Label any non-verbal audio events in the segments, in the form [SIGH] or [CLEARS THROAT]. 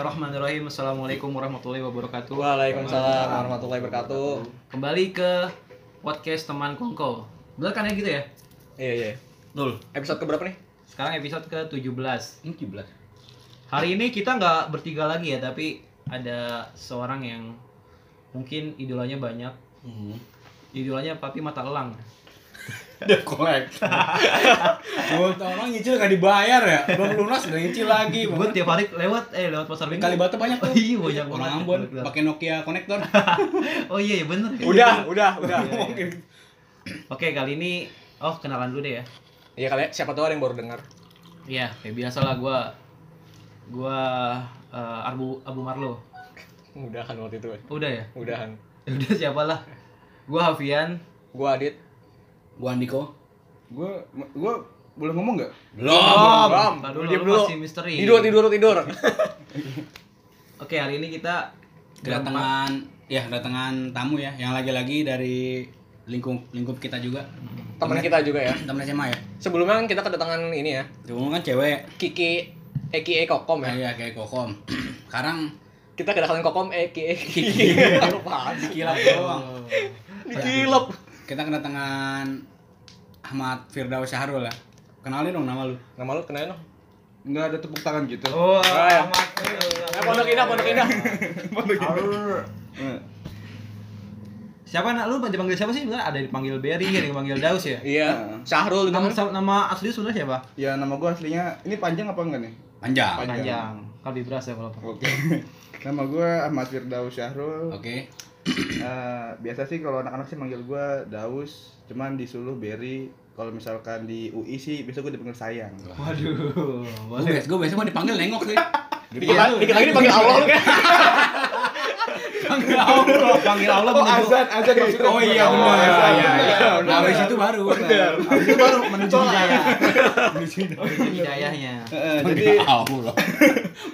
Bismillahirrahmanirrahim. Assalamualaikum warahmatullahi wabarakatuh. Waalaikumsalam warahmatullahi wabarakatuh. Kembali ke podcast teman kongko. Belakangnya gitu ya. Iya iya. Dul. Episode keberapa nih? Sekarang episode ke-17. Ini kiblat. Hari ini kita nggak bertiga lagi ya, tapi ada seorang yang mungkin idolanya banyak. Hmm. Idolanya Papi Mata Elang. Ada [LAUGHS] kolek. Dua tahun orang nyicil gak dibayar ya. Belum lunas udah nyicil lagi. Gue tiap hari lewat eh lewat pasar minggu. Kali batu banyak Oh, tuh. iya banyak Orang banget. Ambon pakai Nokia konektor. Oh iya, iya bener. ya. Udah, udah, [LAUGHS] udah. Iya, iya. Oke, kali ini oh kenalan dulu deh ya. Iya kalian siapa tahu ada yang baru dengar. Iya, kayak biasa lah gue gue Arbu Abu Marlo. Udahan waktu itu. Udah ya? Udahan. Ya Udah siapalah. Gue Hafian. Gua Adit. Gua Andiko. gue gue boleh ngomong nggak Belum. Bam. Ntar dulu, Diam lu masih misteri. Tidur, tidur, [LAUGHS] tidur. Oke, hari ini kita berempat. Kedatangan ya kedatangan tamu ya yang lagi-lagi dari lingkup lingkup kita juga. Teman kita juga ya. Temen SMA ya. Sebelumnya kan kita kedatangan ini ya. Dulu kan cewek. Kiki Eki Kokom ya. Kayak kayak kokom. [CLEARS THROAT] Sekarang Kita kedatangan Kokom eh, Eki Kiki. [LAUGHS] Apaan sih? dikilap doang. Digilep. Kita kedatangan Ahmad Firdaus Syahrul ya. Kenalin dong nama lu. Nama lu kenalin dong. nggak ada tepuk tangan gitu Oh, ya. amat. Eh, pondok indah, pondok indah. Arr. Eh, Siapa nak lu dipanggil siapa sih? Sebenarnya ada yang dipanggil Berry, ada yang dipanggil Daus ya. Iya, Syahrul Nama, juga kan? nama asli sebenarnya siapa? ya nama gue aslinya ini panjang apa enggak nih Panjang. Panjang. Panjang. Kalbi beras ya kalau apa. oke [LAUGHS] nama gue Ahmad Firdaus Syahrul Oke. Eh, biasa sih kalau anak-anak sih manggil gue Daus cuman di Suluh Berry kalau misalkan di UI sih biasa gue dipanggil sayang Waduh, Gue boleh. biasa, gue biasa mau dipanggil nengok sih. Dikit lagi- dikit lagi dipanggil Allah lu kan. Panggil Allah. Panggil Allah oh menuju azan azan maksudnya Oh iya [LAUGHS] Oh, udah. azan. Iya, iya. Udah, Nah, udah. habis itu baru. Habis itu baru menuju hidayah. menuju hidayahnya. Eh, Jadi jadi Allah.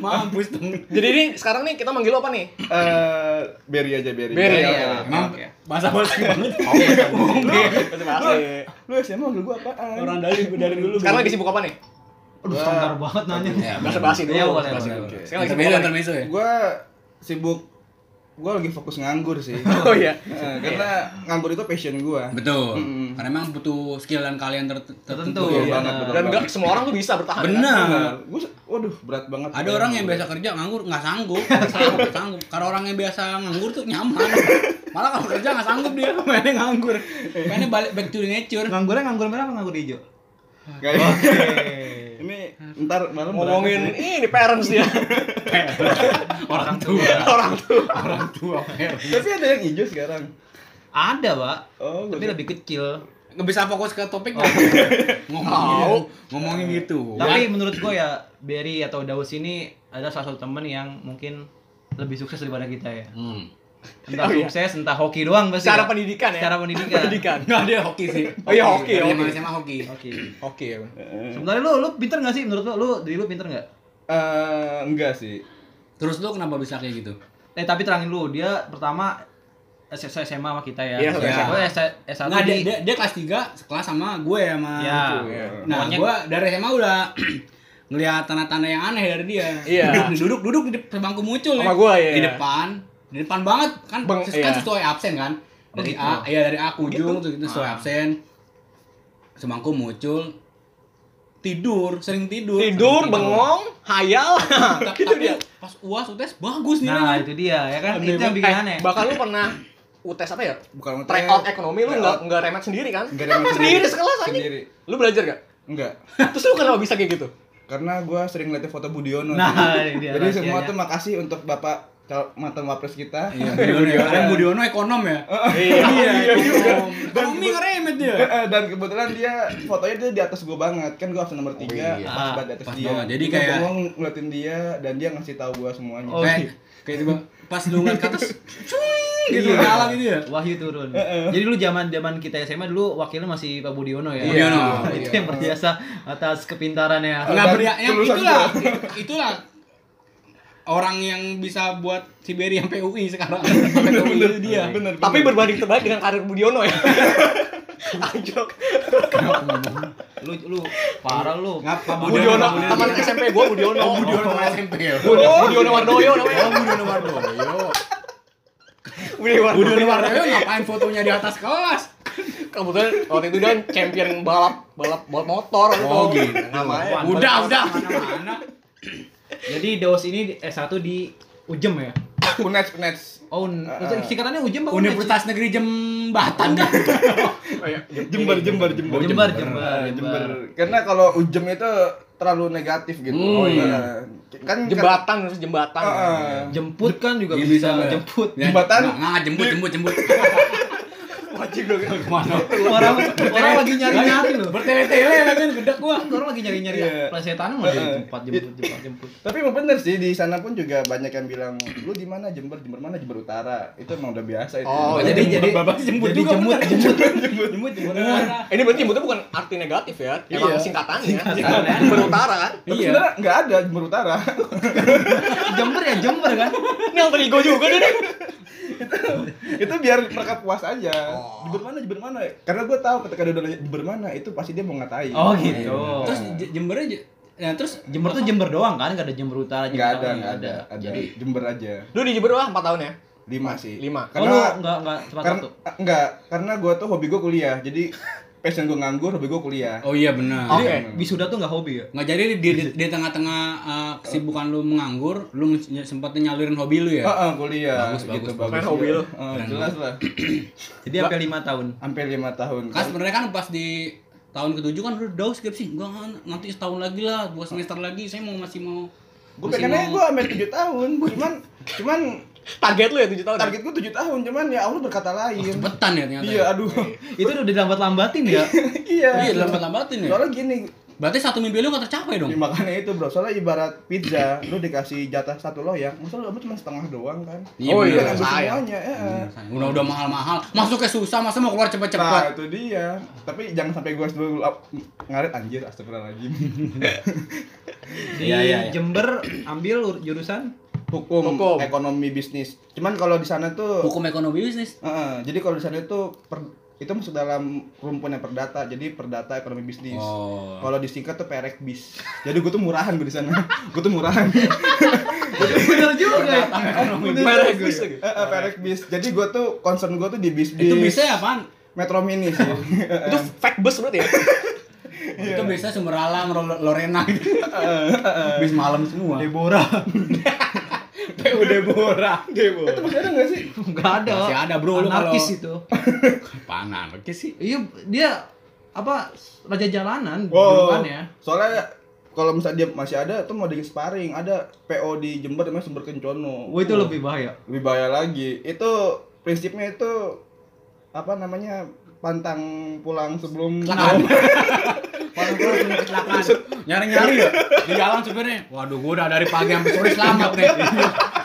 Mampus tuh. Jadi ini sekarang nih kita manggil lu apa nih? eh Berry aja Berry Berry, Berry, oke, oke. oke. Emang bahasa bahasa [LAUGHS] banget. Iya. Terima kasih. lu SMA manggil gue apaan Orang dari dari dulu. Sekarang lagi sibuk apa nih? Aduh, standar banget nanya. Ya, Bahasa basi dulu. Iya, boleh, bahasa basi boleh, dulu. boleh. Sekarang lagi sibuk Terbiasa apa nih? terbiasa ya. gue sibuk gue lagi fokus nganggur [LAUGHS] sih Oh iya. Eh, karena nganggur itu passion gue Betul. Mm-mm. Karena emang butuh skill dan kalian ter- Tertentu. tertentu. ya. Iya, benar. banget, benar. Dan enggak semua orang tuh bisa bertahan. kan? Benar. gue waduh berat banget Ada orang yang biasa kerja nganggur nggak sanggup, nggak sanggup, nggak sanggup. Karena orang yang biasa nganggur tuh nyaman. Malah kalau kerja nggak sanggup dia, mainnya nganggur. Mainnya balik back to nature. Nganggurnya nganggur merah apa nganggur hijau? [LAUGHS] Kayak- ini ntar malam Ngomongin berantem ini parents dia. Orang tua, orang tuh. orang tua. sih. tapi ada yang hijau sekarang Ada, Pak. oh Tapi lebih kecil. Nggak bisa fokus ke topik nggak? Tahu. ngomongin, ngomongin gitu. Tapi menurut gue ya Berry atau Daus ini ada salah satu temen yang mungkin lebih sukses daripada kita ya. Hmm. Entah Oh, iya. sukses, entah hoki doang pasti. ya. Secara pendidikan ya. Secara pendidikan. Pendidikan. Enggak dia hoki sih. Oh iya, hoki, Dari hoki. zaman SMA hoki. Oke. Oke ya. Hmm. Sebenarnya lu lu pinter gak sih menurut lu? Lu diri lu pinter gak? Eh, enggak sih Terus lu kenapa bisa kayak gitu? Eh tapi terangin lu, dia pertama S- S- SMA sama kita ya. Iya, Gua sama. S- S1 Enggak dia, di- dia, dia kelas 3 sekelas sama gue sama Ya. Lucu. Iya. Nah, Pokoknya- gue dari SMA udah [CLEARS THROAT] ngelihat tanda-tanda yang aneh dari dia. [LAUGHS] Iya. Duduk duduk duduk di dep- bangku muncul ya. Sama gue, iya. Di depan. Di depan banget kan Bang- ses- kan iya. Oh, gitu. sesuai absen kan. Dari Begitu. A, iya dari A ke ujung tuh gitu Ah. sesuai absen. Semangku muncul tidur, sering tidur. Tidur, Sering bengong, [LAUGHS] hayal. Ta- [LAUGHS] gitu Tapi dia. pas UAS UTS bagus nih. Nah, kan. itu dia ya kan. Aneh Itu yang banget. bikin Eh, aneh. Bahkan lu pernah UTS apa ya? bukan Track out ekonomi lu enggak enggak remat sendiri kan? Nggak remat sendiri sendiri. sekelas aja. Sendiri. Lu belajar gak? enggak Terus lu kenapa bisa kayak gitu? karena gue sering lihat foto Budiono Nah, sih. ini dia jadi semua rahasianya. tuh makasih untuk bapak cal- mantan wapres kita Iya, Budiono. ya. Karena Budiono ekonom ya. [LAUGHS] Iya. Iya, juga. Ekonomi ngeremet dia. [LAUGHS] Eh, dan kebetulan dia fotonya dia di atas gue banget kan gue absen nomor 3 iya. Ah, pas banget di atas pas dia banget. Jadi Gua kayak- bengong ngeliatin dia dan dia ngasih tahu gue semuanya Oh, Kayak iya. kayak tiba pas lu ngeliat ke [LAUGHS] atas, cuing gitu Iya. nyala gitu ya. Wahyu turun. Jadi dulu zaman zaman kita SMA dulu wakilnya masih Pak Budiono ya. Iya, Budiono. [LAUGHS] itu yang berjasa atas kepintarannya. Enggak beria, yang Kelulusan itulah, itulah orang yang bisa buat Siberia sampai UI sekarang. Sampai ke UI itu dia. bener [LAUGHS] Tapi berbanding terbalik dengan karir Budiono ya. Anjok. Kenapa ngomong? Lu lu parah lu. Ngapa Budiono, Budiono? teman SMP gua Budiono. Oh, Budiono teman SMP. ya? Budiono Budiono Wardoyo namanya. Oh, Budiono Wardoyo. Budiono Budiono Wardoyo. Wardoyo ngapain fotonya di atas kelas? Kebetulan waktu itu dan champion balap balap balap motor waktu Oh, itu. gitu. Namanya. Wah, Udah, balik udah. [LAUGHS] Mana-mana. Jadi Daos ini S1 di Ujem ya? Unets, unets. Oh, un- Eh, eh. singkatannya Ujem apa? Universitas Negeri Jembatan kan? Jember, jember, jember. Jember, Jember, Iya, Eh, Jember. Karena kalau ujem itu terlalu negatif gitu. Hmm. Oh, iya. Kan kan- Jembatan terus jembatan. Heeh. ah. Jemput kan juga Iya, bisa bisa. jemput. [LAUGHS] Ya, Jembatan? nggak, Nggak, jembut, jembut, jembut. [LAUGHS] Wajib dong. Kemana? [LAUGHS] Orang orang lagi nyari-nyari loh. Bertele-tele kan gedek gua. Orang lagi nyari-nyari Iya. plesetan mau Heeh. jemput, jemput, jemput, [LAUGHS] jemput. Tapi emang bener sih di sana pun juga banyak yang bilang lu di mana Jember, Jember mana Jember Utara. Itu emang udah biasa itu. Oh, Jember. jadi- jemput, babak jemput jadi juga jemput, bener. jemput, jemput, jemput, jemput. Ini berarti jembatan bukan arti negatif ya. Emang Iya. singkatannya. Singkatannya. Berutara kan. Tapi Iya. sebenarnya nggak ada Jember [LAUGHS] Utara. Jember ya Jember kan. Ini Iya. alter ego juga deh. deh. itu biar mereka puas aja. Oh. Jember mana Jember mana? Karena gue tahu ketika dia udah nanya Jember mana itu pasti dia mau ngatain. Oh, gitu. Iya. Terus J- Jembernya J- ya terus Jember tuh Jember doang kan, gak ada Jember Utara, Jember Iya. nggak ada, Iya, Selatan, nggak ada. Ada Jadi Jember aja. Lu di Jember lah 4 tahun ya? Lima sih. Lima. Oh, lu Karena enggak enggak tempat karena satu. enggak, karena gue tuh hobi gue kuliah. Jadi passion gue nganggur, hobi gue kuliah. Oh iya benar. Oke. Wisuda tuh enggak hobi ya? Nggak jadi di, di, di tengah-teny eh, kesibukan lu menganggur, lu ny- sempet nyalurin hobi lu ya? Heeh, kuliah. Bagus, gitu, bagus, bagus. Hobi lu. Heeh, jelas lah. Jadi sampai 5 tahun. Hampir lima tahun. Kan sebenarnya kan pas di tahun ketujuh kan udah daus skripsi, gua nggak- nanti setahun lagi lah, dua semester lagi, saya mau masih mau. Gue masih pengennya mau- gue hampir tujuh tahun, cuman cuman Target lu ya 7 tahun. ya? target gue tujuh tahun, cuman ya Allah berkata lain. cepetan ya ternyata. Iya, aduh. Itu udah dilambat-lambatin ya. [LAUGHS] iya. Iya, lambat-lambatin ya. Soalnya gini, Berarti satu mimpi lu gak tercapai dong. ya makanya itu bro, soalnya ibarat pizza, lu dikasih jatah satu loyang, masa lu dapet cuma setengah doang kan? Iya, Oh, iya, Lu nggak ngambil sayang. semuanya, ya. Udah udah mahal-mahal, masuknya susah, masa mau keluar Nah, cepet-cepet. itu dia. Tapi jangan sampai gua dulu ngaret anjir, astagfirullahaladzim. Di Iya, iya, iya. Jember ambil ur- [LAUGHS] jurusan Hukum, Hukum. ekonomi bisnis. Cuman kalau di sana tuh Hukum ekonomi bisnis. Heeh, jadi kalau di sana itu per- itu masuk dalam rumpunnya perdata. Jadi perdata ekonomi bisnis. Oh. Kalau disingkat tuh perek bis. Jadi gue tuh murahan gue di sana. [LAUGHS] gue tuh murahan. Bener juga ya. Bener Merek juga. bis lagi. Eh, eh, perek bis. Jadi gue tuh concern gue tuh di bis bis. Itu bisnya apaan? Metro Mini sih. [LAUGHS] Heeh, Itu fake bus berarti ya? Itu biasanya sumber alam, Ro- Lorena gitu. Bis malam semua. Deborah. PU [LAUGHS] Deborah. itu masih ada nggak sih? Enggak ada. Masih ada, bro, lu Anarkis kalau- itu. Panan, oke sih. Iya, dia apa raja jalanan Wow. julukannya. ya. Soalnya kalau misalnya dia masih ada tuh mau di sparring ada PO di Jember namanya Sumber Kencono. Wah, Oh, itu lebih bahaya. lebih bahaya lagi itu prinsipnya itu apa namanya pantang pulang sebelum Kecelakaan. Kalau gue punya kecelakaan, nyari-nyari ya di jalan supirnya. Waduh, gue udah dari pagi sampai sore selamat nih.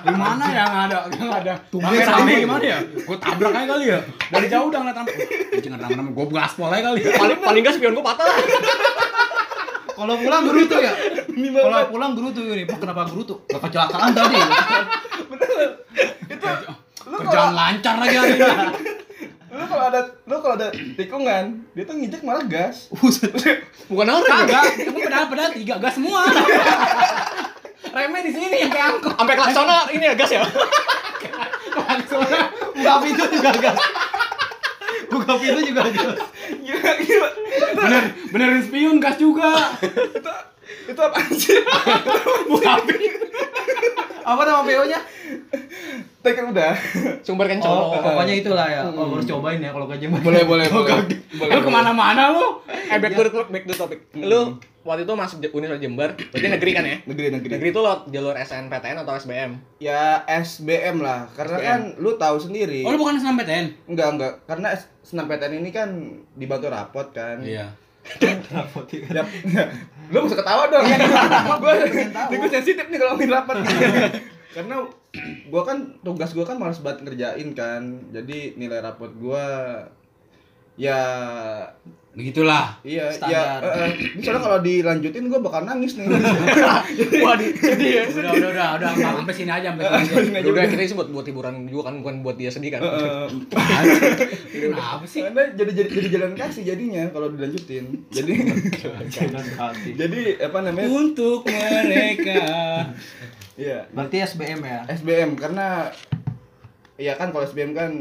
Gimana ya nggak ada nggak ada. Tumben rame gimana ya? Gue tabrak aja kali ya. Dari jauh udah ngeliat rame. Anjing ada rame-rame, gue gaspol aja kali. ya. Paling paling enggak spion gua patah lah. Kalau pulang gerutu ya. [LAUGHS] Minimal. kan. Kalau pulang gerutu ini, Pak, kenapa gerutu? Lah, Kecelakaan tadi. lu Kerjaan lancar lagi hari ini. lu kalau ada lu kalau ada tikungan dia tuh ngijek malah gas Bukan orang. Kagak, emang pedal-pedal tiga gas [LAUGHS] semua. Remnya di sini yang kayak angkot. Sampai klaksona ini ya gas ya. Langsungnya Buka pintu juga gas. Buka pintu juga gas. gila gila bener benerin spion gas juga. itu itu apa sih Buka pintu. Apa nama PO-nya? tekan udah Sumber kencol. Oh, pokoknya itulah ya. Oh, harus cobain ya kalau ke Jember. boleh [LAUGHS] boleh boleh Lu kemana-mana lu. Eh back to the back to the topic. Lu waktu itu masuk Je- Universitas Jember, berarti [LAUGHS] negeri kan ya? negeri negeri Negeri itu lewat jalur SNPTN atau SBM? ya SBM lah karena SBM. kan lu tahu sendiri Oh, lu bukan SNMPTN? enggak enggak karena senampetan ini kan dibantu rapot kan Iya. Ya, [LAUGHS] lu gak usah ketawa dong. [LAUGHS] gue gue sensitif nih kalau ngomongin rapat. [LAUGHS] Karena gue kan tugas gue kan malas banget ngerjain kan. Jadi nilai rapot gue ya Begitulah. Iya, Standar. iya. eh, eh. Ini soalnya kalau dilanjutin gue bakal nangis nih. Waduh, sedih ya. Udah, udah, udah, udah, Pak. [LAUGHS] sampai sini aja, sampai sini aja. Udah, udah kita sih buat buat hiburan juga kan bukan buat dia sedih kan. Iya, Kenapa sih? Karena jadi jadi jadi jalan kasih jadinya kalau dilanjutin. Jadi [LAUGHS] jadi apa namanya? Untuk mereka. Iya. Berarti SBM ya? SBM karena ya kan kalau SBM kan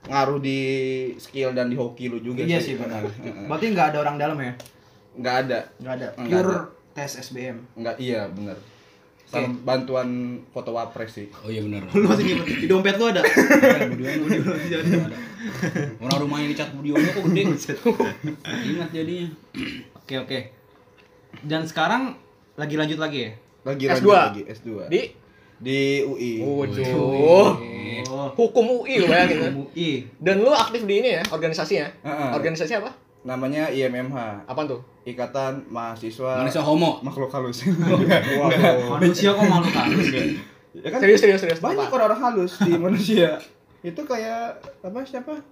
ngaruh di skill dan di hoki lu juga Iya sih [LAUGHS] benar. Berarti nggak ada orang dalam ya? Nggak ada. Nggak ada. Nggak Pure tes SBM. Nggak iya benar. Sama bantuan foto wapres sih. Oh iya benar. Lu masih di, di dompet lu ada? Orang rumahnya dicat budiono kok gede. Ingat jadinya. Oke oke. Dan sekarang lagi lanjut lagi ya? Lagi S2. lanjut lagi S2. Di, Di UI. Waduh. Oh. Hukum UI lo ya gitu. UI. Dan lu aktif di ini ya, organisasinya. Heeh. Organisasi apa? Namanya IMMH, Apaan tuh? Ikatan Mahasiswa Manusia homo. Makhluk [LAUGHS] Halus. Waduh. Manusia kok malu halus ya kan Serius serius serius. banyak Apa? orang-orang halus [LAUGHS] di manusia. Itu kayak apa siapa?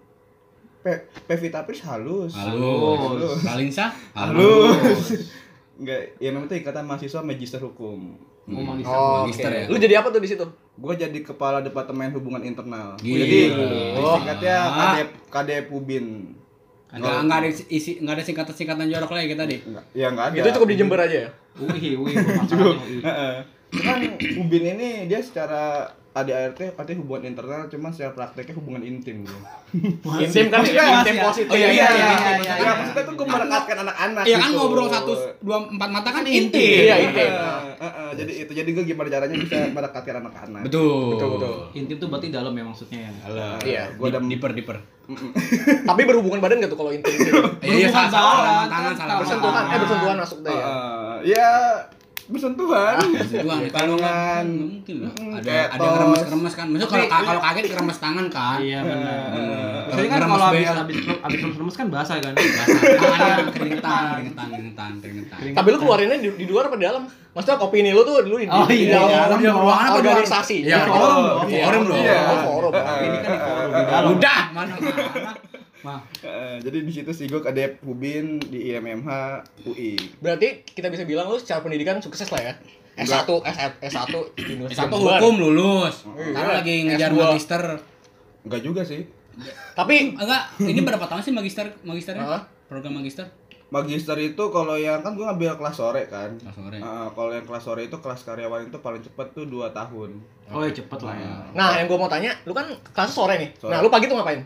Pe Pevita Pierce halus. Halus. Kalinsa? Enggak, ya memang itu ikatan mahasiswa magister hukum. Mau Hmm. manusia. Oh, oke. Magister ya. Lu jadi apa tuh di situ? Gue jadi kepala departemen hubungan internal. Gila. Jadi singkatnya Ah. KDP KDPubin. Enggak enggak ada isi enggak ada singkatan-singkatan jorok lagi kayak tadi. Enggak, ya enggak ada. Itu cukup di Jember [LAUGHS] aja ya. UI, UI. gua masalahnya UI. Heeh. Cuman Ubin ini dia secara ADART katanya hubungan internal cuman secara prakteknya hubungan intim gitu. Intim kan ya, intim positif. Oh, iya, iya, iya, iya, maksudnya, iya. maksudnya tuh gue merekatkan anak-anak Iya kan gitu. ngobrol satu dua empat mata kan inti. Iya, Heeh, intim. heeh. jadi itu jadi gue gimana caranya bisa merekatkan anak-anak. Betul. Betul, betul. Intim tuh berarti dalam ya maksudnya ya? Halo. Iya, gua Dip- ada- diper diper. Tapi berhubungan badan gak tuh kalau intim? Eh, Berhubungan Iya, salah salah badan, tangan, tangan kan, salah. Iya, Bersentuhan, eh bersentuhan masuk deh ya. Heeh. ya bersentuhan. Bersentuhan. Ya, Kalau enggak tangan. nggak mungkin lah. Mm, Ada kayak ada tos. remes-remes kan. Maksudnya kalau kalau kaget remes tangan kan. Iya benar. Heeh. Maksudnya kan Ngeremes kalau habis bel. habis habis remes kan basah kan? Tangan keringetan, keringetan, keringetan, keringetan. Keringetan. Tapi lu keluarinnya di, di luar apa di dalam? Maksudnya kopi ini lu tuh dulu di, Oh, di iya, dalam, iya. di dalam ruangan apa di luar? organisasi. Iya, Di forum, Oh, forum, iya. forum loh. Iya. Oh, forum. Ini kan di forum di dalam. Udah, mana mana. Mah, Heeh, jadi di situ sih gue kadep Ubin di IMMH UI. Berarti kita bisa bilang lu secara pendidikan sukses lah ya. S1, S1, S1, Universitas S1 Jember. Ya, hukum lulus. Iya. Sekarang lagi ngejar S2. magister. Enggak juga sih. Tapi Enggak, ini berapa tahun sih magister magisternya? Hah? Program magister? Magister itu kalau yang kan gue ngambil kelas sore kan. Kelas sore. Heeh, kalau yang kelas sore itu kelas karyawan itu paling cepat tuh 2 tahun. Oh ya cepet lah ya. nah, yang gua mau tanya, lu kan kelas sore nih. Sore. Nah, lu pagi tuh ngapain?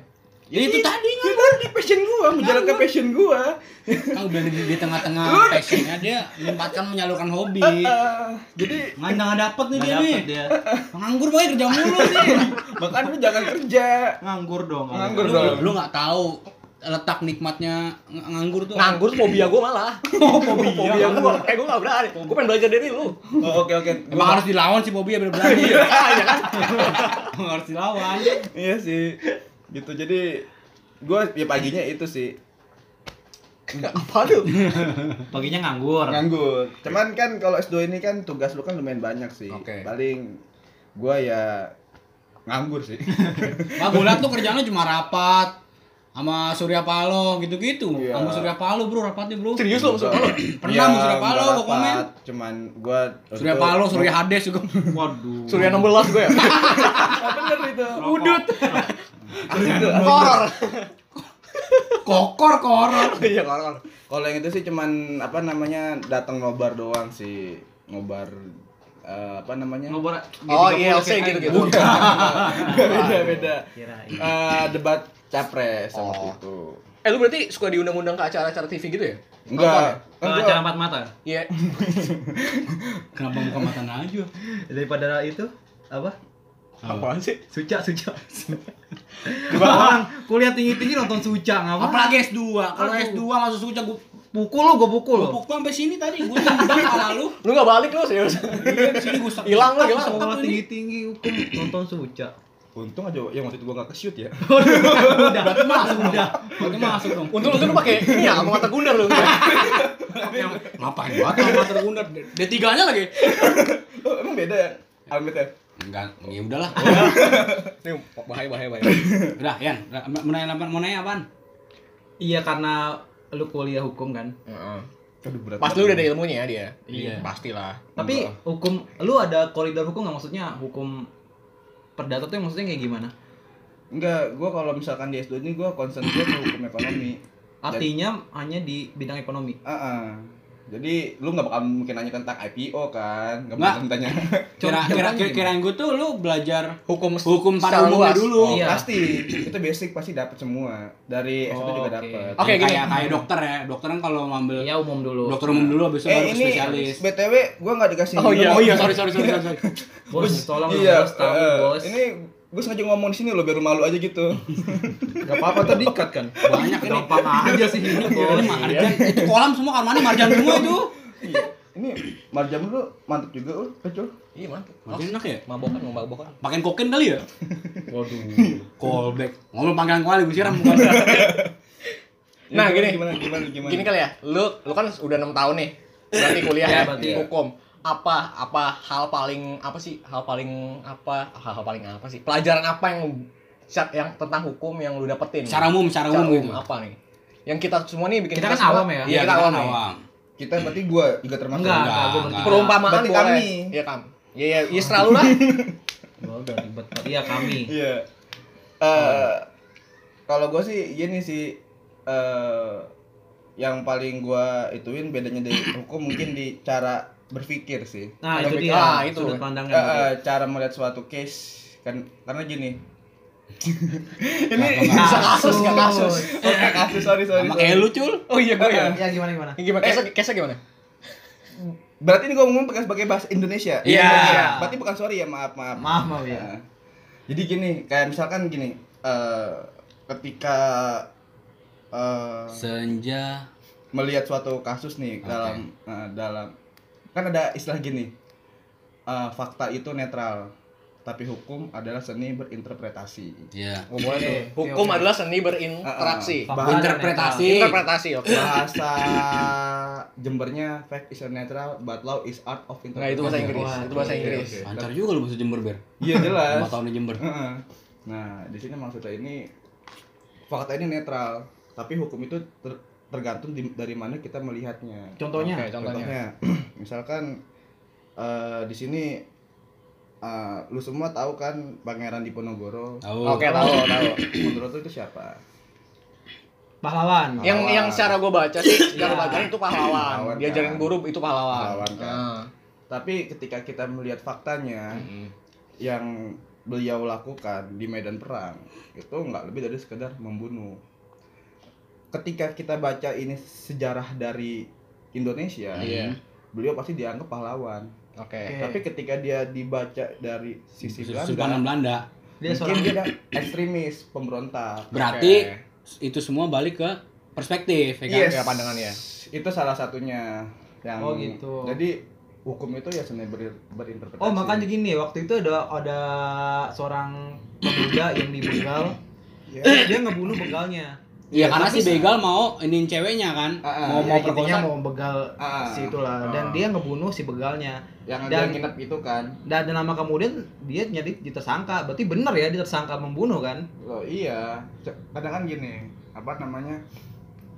Ya itu tadi, kan di passion gua, menjalankan passion gua. Kan udah di, di tengah-tengah passionnya dia menyempatkan menyalurkan hobi. Ah, jadi Nggak nggak dapet nih Nggak dia nih. dapet dia. Nganggur boy kerja mulu sih. makan lu jangan kerja. Nganggur dong. Nganggur. lu, Betul. lu nggak tahu letak nikmatnya ng- nganggur tuh. Nganggur tuh fobia gua malah. [LAUGHS] Oh, fobia. fobia gua. Eh, gua nggak berani. Gua pengen belajar dari lu. Oh, oke oke. Emang harus dilawan sih Bobby ya biar berani. Ah, iya kan? [LAUGHS] Emang harus dilawan. Iya sih. Gitu. Jadi gua ya paginya itu sih Apa tuh? Paginya nganggur. nganggur. Cuman kan kalau S2 ini kan tugas lu kan lumayan banyak sih. Oke. Paling gua ya nganggur sih. Pak Gulat tuh kerjanya cuma rapat sama Surya Paloh gitu-gitu. Iya. Sama Surya Paloh bro rapatnya bro. Serius lu maksud lu? Oh, Pernah sama Surya nggak Paloh, gua rapat. komen. Cuman gua Surya Paloh, Surya Hades juga. Waduh. Surya 16 [LAUGHS] gua ya. bener itu. Udut. Itu. Horor. [LAUGHS] Kokor koror. Iya, horor. Kalau yang itu sih cuman apa namanya datang nobar doang sih. Nobar eh, apa namanya? [LAUGHS] Ngobrol. Oh, Gitu, ILC gitu-gitu. Beda-beda. Kirain. Eh, debat capres sama Oh. itu. Eh, lu berarti suka diundang-undang ke acara-acara TV gitu ya? Enggak. Ke acara empat mata. Iya. Kenapa muka mata aja? Daripada itu apa? Apaan sih? Suca, suca. [LAUGHS] Orang kuliah tinggi-tinggi nonton suca ngapa? Apalagi S2. Kalau S2 masuk suca gua Pukul lu, gua pukul lu. pukul sampai sini tadi gua tendang kepala lu. Lu gak balik lu serius? Iya, di sini gua setak- Hilang lah, hilang. setak Sekolah ini. tinggi-tinggi hukum nonton suca. Untung aja yang waktu itu gua gak ke [LAUGHS] shoot ya. Udah, berarti masuk udah. Berarti masuk dong. Untung untung lu pakai ini ya, sama mata gundar lu. Ngapain banget sama mata gundar? D3-nya lagi. Oh, emang beda ya? Almet ya? Enggak, ya [LAUGHS] udahlah. Nih, bahaya bahaya bahaya. Udah, Yan, udah. mau nanya apa? Mau nanya apaan? Iya karena lu kuliah hukum kan Heeh. Aduh berat. Pas lu udah ada ilmunya ya dia. Iya. Pastilah. tapi hukum lu ada koridor hukum nggak maksudnya hukum perdata tuh yang maksudnya kayak gimana Enggak, gua kalau misalkan di S2 ini gua concern gua ke hukum ekonomi. artinya hanya di bidang ekonomi Heeh. Jadi lu nggak bakal mungkin nanya tentang IPO kan? Nggak Nggak. bakal tanya. Kira kira Contohnya kira kirain gue tuh lu belajar Hukum hukum pada secara umumnya luas. dulu. [LAUGHS] Oh, Iya. Pasti itu basic pasti dapat semua. Dari S1 Oh, juga oke. dapat. Oke, gini. kayak kayak dokter ya. Dokter kan kalau ngambil ya umum dulu dokter umum dulu habis itu Eh baru ke ini spesialis. BTW gua nggak dikasih Oh, iya. Oh iya, sorry sorry sorry sorry. bos tolong lu Iya, bos tahu eh, bos Ini gue sengaja ngomong di sini loh biar lu malu aja gitu. Gak apa-apa tadi cut kan? Banyak ini. Gampang aja sih ini Ini bos. iya. marjan, itu kolam semua Armani marjan semua itu. Iya, ini marjam lu mantep juga lu, kecil. Iya, mantap. Marjan enak ya? Mabokan, mabokan. Pakein kokain kali ya? Waduh. Callback. Ngomong panggilan kali gue siram bukan. Nah, gimana, gini. gimana gimana gimana. Gini kali ya, lu lu kan udah enam tahun nih, berarti kuliah Iya, ya, berarti. hukum. Apa apa hal paling apa sih hal paling apa hal, hal paling apa sih pelajaran apa yang yang tentang hukum yang lu dapetin? Secara umum, secara umum gitu. apa nih? Yang kita semua nih bikin Kita kan awam semua- ya? Iya, kita awam. ya. Kita berarti gua juga termasuk. Enggak, enggak, enggak, gue enggak. berarti. Perumpamaan Berarti boleh. kami. Iya, kam. Iya, iya, iya, serah lu lah. Gua udah ribet. Iya kami. Iya. Eh kalau gua sih gini sih eh yang paling gua ituin bedanya dari hukum mungkin di cara berpikir sih. Nah itu dia. Lebih- ah, itu. Sudut Eh, pandangnya. eh, cara melihat suatu case kan karena [LAUGHS] gini. ini Bisa kasus, nggak kasus. Eh, kasus sorry sorry. Sama sorry. kayak lu cul. [LAUGHS] Oh iya, gue ya. Ya gimana gimana? Gimana? Kesa, kesa gimana? Berarti ini gue ngomong pakai sebagai bahasa Indonesia. Iya. Indonesia. Berarti bukan sorry ya, maaf, maaf. Maaf, maaf Iya. ya. Nah, Jadi gini, kayak misalkan gini, eh, ketika eh, Senja. melihat suatu kasus nih Oke. dalam eh, dalam kan ada istilah gini. eh, fakta itu netral, tapi hukum adalah seni berinterpretasi. Iya. Oh, boleh Oke, nih. oke, Hukum oke. adalah seni berinteraksi. Ah, ah. Bahasa Interpretasi. Interpretasi, oke. Iya. Bahasa Jembernya fact is netral, but law is art of Nah, itu interpretation. bahasa Inggris. Wah, Itu bahasa oke, Inggris. oke. Lancar juga lu bahasa Jember ber. Iya jelas. Lima tahun di Jember. Heeh. Nah, di sini maksudnya ini fakta ini netral, tapi hukum itu ter- tergantung di- dari mana kita melihatnya. Contohnya. Oke, contohnya. [CLEARS THROAT] misalkan eh, di sini eh, lu semua tahu kan Pangeran Diponegoro. Tahu. Oke, tahu, tahu. Menurut lu itu siapa? Pahlawan. Pahlawan. Yang yang secara gue baca sih, secara Iya. pelajaran itu Pahlawan, pahlawan. Diajarin kan. guru itu pahlawan. Pahlawan, kan. Ah. Tapi ketika kita melihat Kan. faktanya yang beliau lakukan di medan perang itu nggak lebih dari sekedar membunuh. Ketika kita baca ini sejarah dari Indonesia, Iya. beliau pasti dianggap pahlawan. Oke. Oke. Tapi ketika dia dibaca dari sisi Simpanan Belanda, Belanda. Dia mungkin seorang dia ada ekstremis, pemberontak. Berarti itu semua balik ke perspektif ya kan? Yes. Ya, pandangannya. Itu salah satunya yang. Oh, gitu. Jadi hukum itu ya seni ber- berinterpretasi. Oh makanya gini waktu itu ada ada seorang pemuda yang dibegal. Ya. dia ngebunuh begalnya. Iya Iya, karena tapi si sa- begal mau iniin ceweknya kan, Iya, Ah, ah, mau Ya, mau intinya perkosa. mau begal Ah, si itulah dan ah. dia ngebunuh si begalnya. yang Dan- ada nginep itu kan. Dan, dan lama kemudian dia jadi ditersangka. Berarti bener ya dia tersangka membunuh kan? Loh iya, C- kadang kan gini, apa namanya?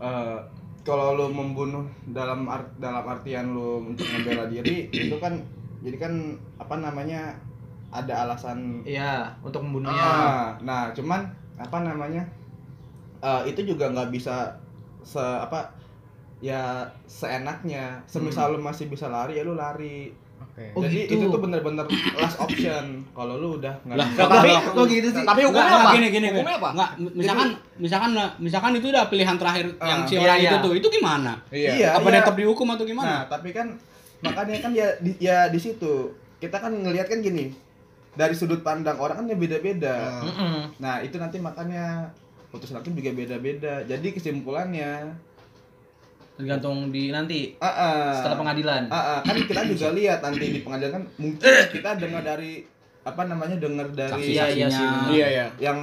eh kalau lu membunuh dalam art- dalam artian lu untuk membela diri itu kan jadi kan apa namanya ada alasan Iya, untuk membunuhnya. Ah, nah cuman apa namanya eh, itu juga nggak bisa se apa ya seenaknya semisal lu masih bisa lari ya lu lari Oke. Oh, jadi gitu. itu tuh bener-bener last option kalau lu udah nggak Lah, bisa Nah, tapi Kalau- Kok gitu sih? tapi Enggak, hukumnya enggak, apa? gini gini. Hukumnya apa? Enggak, misalkan misalkan misalkan itu udah pilihan terakhir Ah, yang si iya, orang iya. itu tuh, itu gimana? Iya, apa iya. tetap dihukum atau Nah, gimana? tapi kan makanya kan ya di, ya di situ kita kan ngelihat kan gini dari sudut pandang orang kan ya beda-beda. Mm-mm. Nah, itu nanti makanya putusan hakim juga beda-beda. Jadi kesimpulannya, Tergantung di nanti ah, ah. setelah pengadilan. Ah, ah, kan kita juga lihat nanti di pengadilan kan mungkin kita dengar dari apa namanya dengar dari Saksi-saksi. iya, iya sih, Saksinya. benar. Iya, iya. yang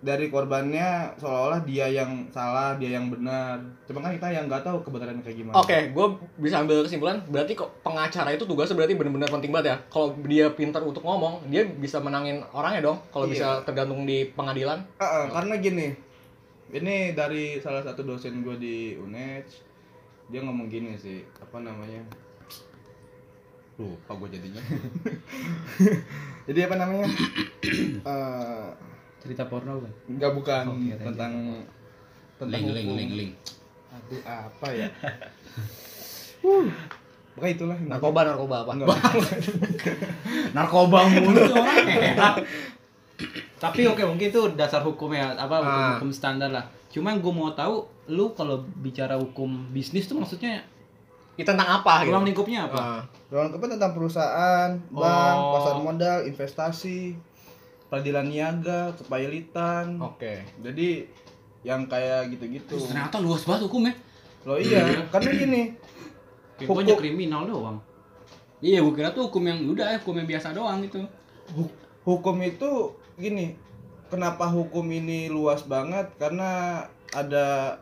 dari korbannya seolah-olah dia yang salah, dia yang benar. Cuma kan kita yang nggak tahu kebenarannya kayak gimana. Oke, gue bisa ambil kesimpulan. Berarti kok pengacara itu tugasnya berarti benar-benar penting banget ya. Kalau dia pintar untuk ngomong, dia bisa menangin orangnya dong. Kalau Iya. bisa tergantung di pengadilan. Ah, ah, karena gini, ini dari salah satu dosen gue di UNED dia ngomong gini sih apa namanya lupa gue jadinya [LAUGHS] jadi apa namanya [COUGHS] Eh, Cerita porno kan? nggak bukan Oke, thank you. tentang tentang Link, link, hukum. link, link. aduh apa [LAUGHS] ya uh, pokoknya itulah Nah, Narkoba, narkoba apa? Enggak. Narkoba mulu Iya, tuh orang [LAUGHS] heran. gitu. Tapi oke mungkin itu dasar hukum ya, apa hukum, Ah. hukum standar lah. Cuman gue mau tahu lu kalau bicara hukum bisnis tuh maksudnya [LAUGHS] Itu tentang apa gitu? ruang lingkupnya apa? Ah. Ruang lingkupnya tentang perusahaan, bank, Oh. pasar modal, investasi, peradilan niaga, kepailitan. Oke. Jadi yang kayak gitu-gitu. Terus ternyata luas banget hukumnya. Loh iya, [CLEARS THROAT] karena gini. Pokoknya hukum- kriminal doang. Iya, gue kira tuh hukum yang udah hukum yang biasa doang gitu. hu- Hukum itu gini. Kenapa hukum ini luas banget? Karena ada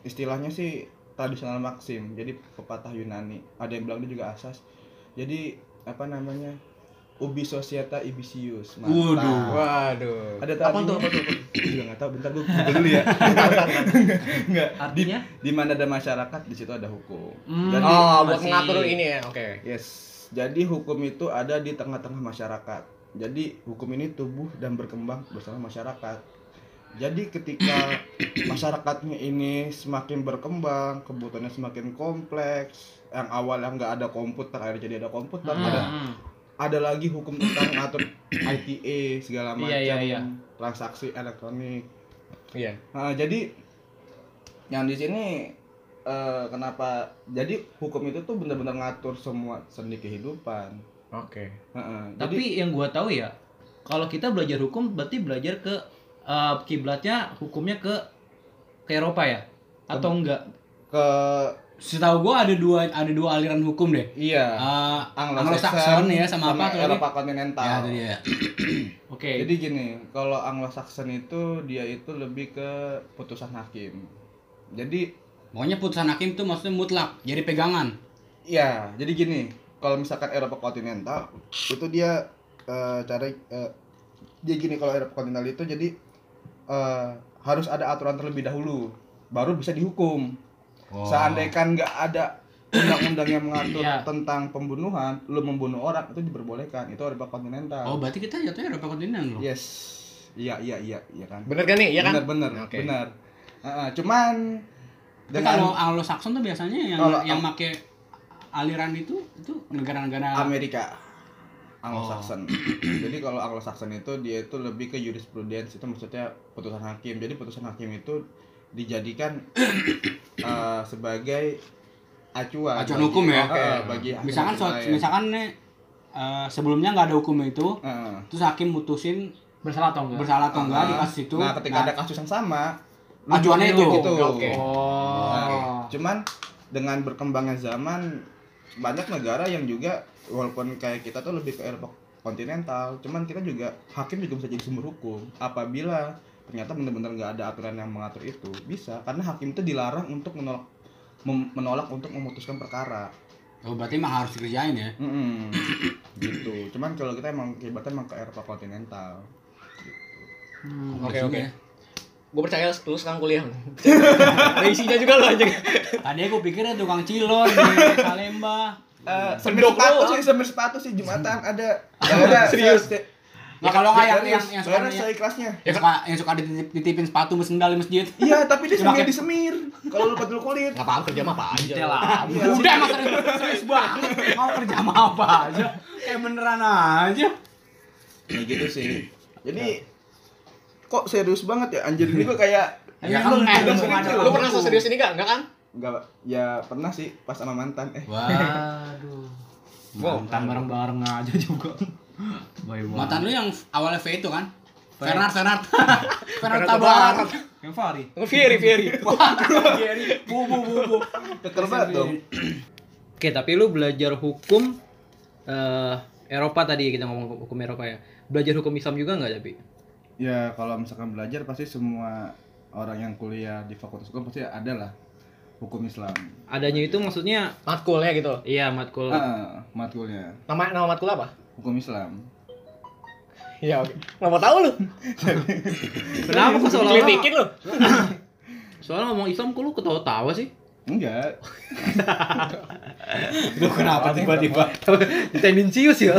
istilahnya sih tradisional maksim. Jadi pepatah Yunani. Ada yang bilang dia juga asas. Jadi apa namanya? Ubi societa ibisius. Waduh. Waduh. ada apa tadinya. tuh? Apa tuh? [LAUGHS] Gua juga nggak tahu bentar [LAUGHS] gue google dulu ya nggak di, Artinya? [LAUGHS] di mana ada masyarakat di situ ada hukum Hmm. jadi Oh, buat Masih- mengatur ini ya. Oke. yes jadi hukum itu ada di tengah-tengah masyarakat jadi hukum ini tumbuh dan berkembang bersama masyarakat jadi [COUGHS] ketika masyarakatnya ini semakin berkembang, kebutuhannya semakin kompleks, yang awalnya nggak ada komputer, akhirnya jadi ada komputer, Hmm, ada hmm. ada lagi hukum tentang ngatur ITA E, segala macam Iya, iya, iya. transaksi elektronik. Iya. Nah, jadi yang di sini eh, kenapa jadi hukum itu tuh benar-benar ngatur semua sendi kehidupan. Oke. Heeh, jadi Tapi yang gua tahu ya, kalau kita belajar hukum berarti belajar ke eh, kiblatnya hukumnya ke ke Eropa ya? Atau enggak? ke Setahu gue ada dua ada dua aliran hukum deh. iya Eh, Anglo-Saxon Anglo-Saxon ya sama, apa tuh? Eropa tadi? Ya, kontinental. tadi ya. Oke. Jadi gini, kalau Anglo-Saxon itu dia itu lebih ke putusan hakim. Jadi Pokoknya putusan hakim tuh maksudnya mutlak, jadi pegangan. Ya, jadi gini, kalau misalkan Eropa kontinental itu dia eh, cara eh, dia gini kalau Eropa kontinental itu jadi eh, harus ada aturan terlebih dahulu baru bisa dihukum. Seandainya kan nggak ada undang-undang yang mengatur Iya. tentang pembunuhan, lu membunuh orang itu diperbolehkan. Itu Eropa kontinental. Oh, berarti kita jatuhnya Eropa kontinen loh. Yes. Iya, iya, iya, iya kan. Bener kan nih? Iya kan? Benar, benar, Oke. benar. Heeh, cuman Tapi kalau Anglo-Saxon tuh biasanya yang Kalau- yang make aliran itu itu negara-negara Amerika Oh. Anglo-Saxon. [CLEARS THROAT] Jadi kalau Anglo-Saxon itu dia itu lebih ke jurisprudence itu maksudnya putusan hakim. Jadi putusan hakim itu [CLEARS THROAT] dijadikan eh, sebagai acuan. acuan bagi- hukum ya. Oke, Heeh. bagi hakim misalkan hakim soal, lain. misalkan nih eh, sebelumnya nggak ada hukum itu, Heeh. terus hakim mutusin Bersalah atau enggak? bersalah atau enggak di Nah, kasus itu. Nah, ketika ada kasus yang sama, acuannya itu. gitu. Oke. Oh. Nah, cuman dengan berkembangnya zaman banyak negara yang juga walaupun kayak kita tuh lebih ke Eropa kontinental, cuman kita juga hakim juga bisa jadi sumber hukum apabila ternyata benar-benar nggak ada aturan yang mengatur itu bisa karena hakim itu dilarang untuk menolak mem- menolak untuk memutuskan perkara Oh, berarti mah harus dikerjain ya. Mm-mm. [COUGHS] gitu cuman kalau kita emang kiblatnya emang ke Eropa kontinental Hmm. Oke, oke. Bagus juga ya. Gue percaya lu sekarang kuliah. [LAUGHS] Ada isinya juga lo aja. Tadi aku pikirnya tukang cilor di Salemba. sendok sepatu doang. sih sambil sepatu sih jumatan ada ada Serius? Ya, Nah, kalau nggak yang yang ya. yang suka sekarang saya kelasnya yang suka, yang suka dititip- dititipin sepatu sama sendal di masjid. Iya, tapi dia Cuma semir kayak- disemir. Kalau lu dulu kulit. Gak paham kerja mah apa aja. Detail Iya lah. Iya. Udah mas serius, serius banget. Mau kerja sama apa aja? Kayak beneran aja. Ya gitu sih. Jadi kok serius banget ya anjir ini gua kayak Ya, kan, Lu- eh, lu- lu- lu- ada- lu- Lu pernah serius ini gak? Enggak kan? Enggak, ya pernah sih pas sama mantan eh. Waduh. Wow. Mantan bareng-bareng aja juga. Bye bye. Mantan lu yang awalnya V itu kan? Fernard, Fernard. Fernard Tabarat. Tabarat. yang Fahri. Fieri, Fieri. Bu, bu, bu, bu. Keker banget dong. Oke, tapi lu belajar hukum eh, Eropa tadi kita ngomong hukum Eropa ya. Belajar hukum Islam juga nggak tapi? Ya kalau misalkan belajar pasti semua orang yang kuliah di fakultas hukum pasti ada lah hukum Islam. Adanya itu maksudnya Matkulnya gitu. iya matkul. Heeh, Ah, matkulnya Nama nama matkul apa? hukum Islam. Ya oke. Nggak mau tahu lu. Kenapa kok seolah-olah Kelitikin lu. Soalnya ngomong Islam kok lu ketawa-tawa sih? Enggak. Lu kenapa tiba-tiba? Tendensius ya.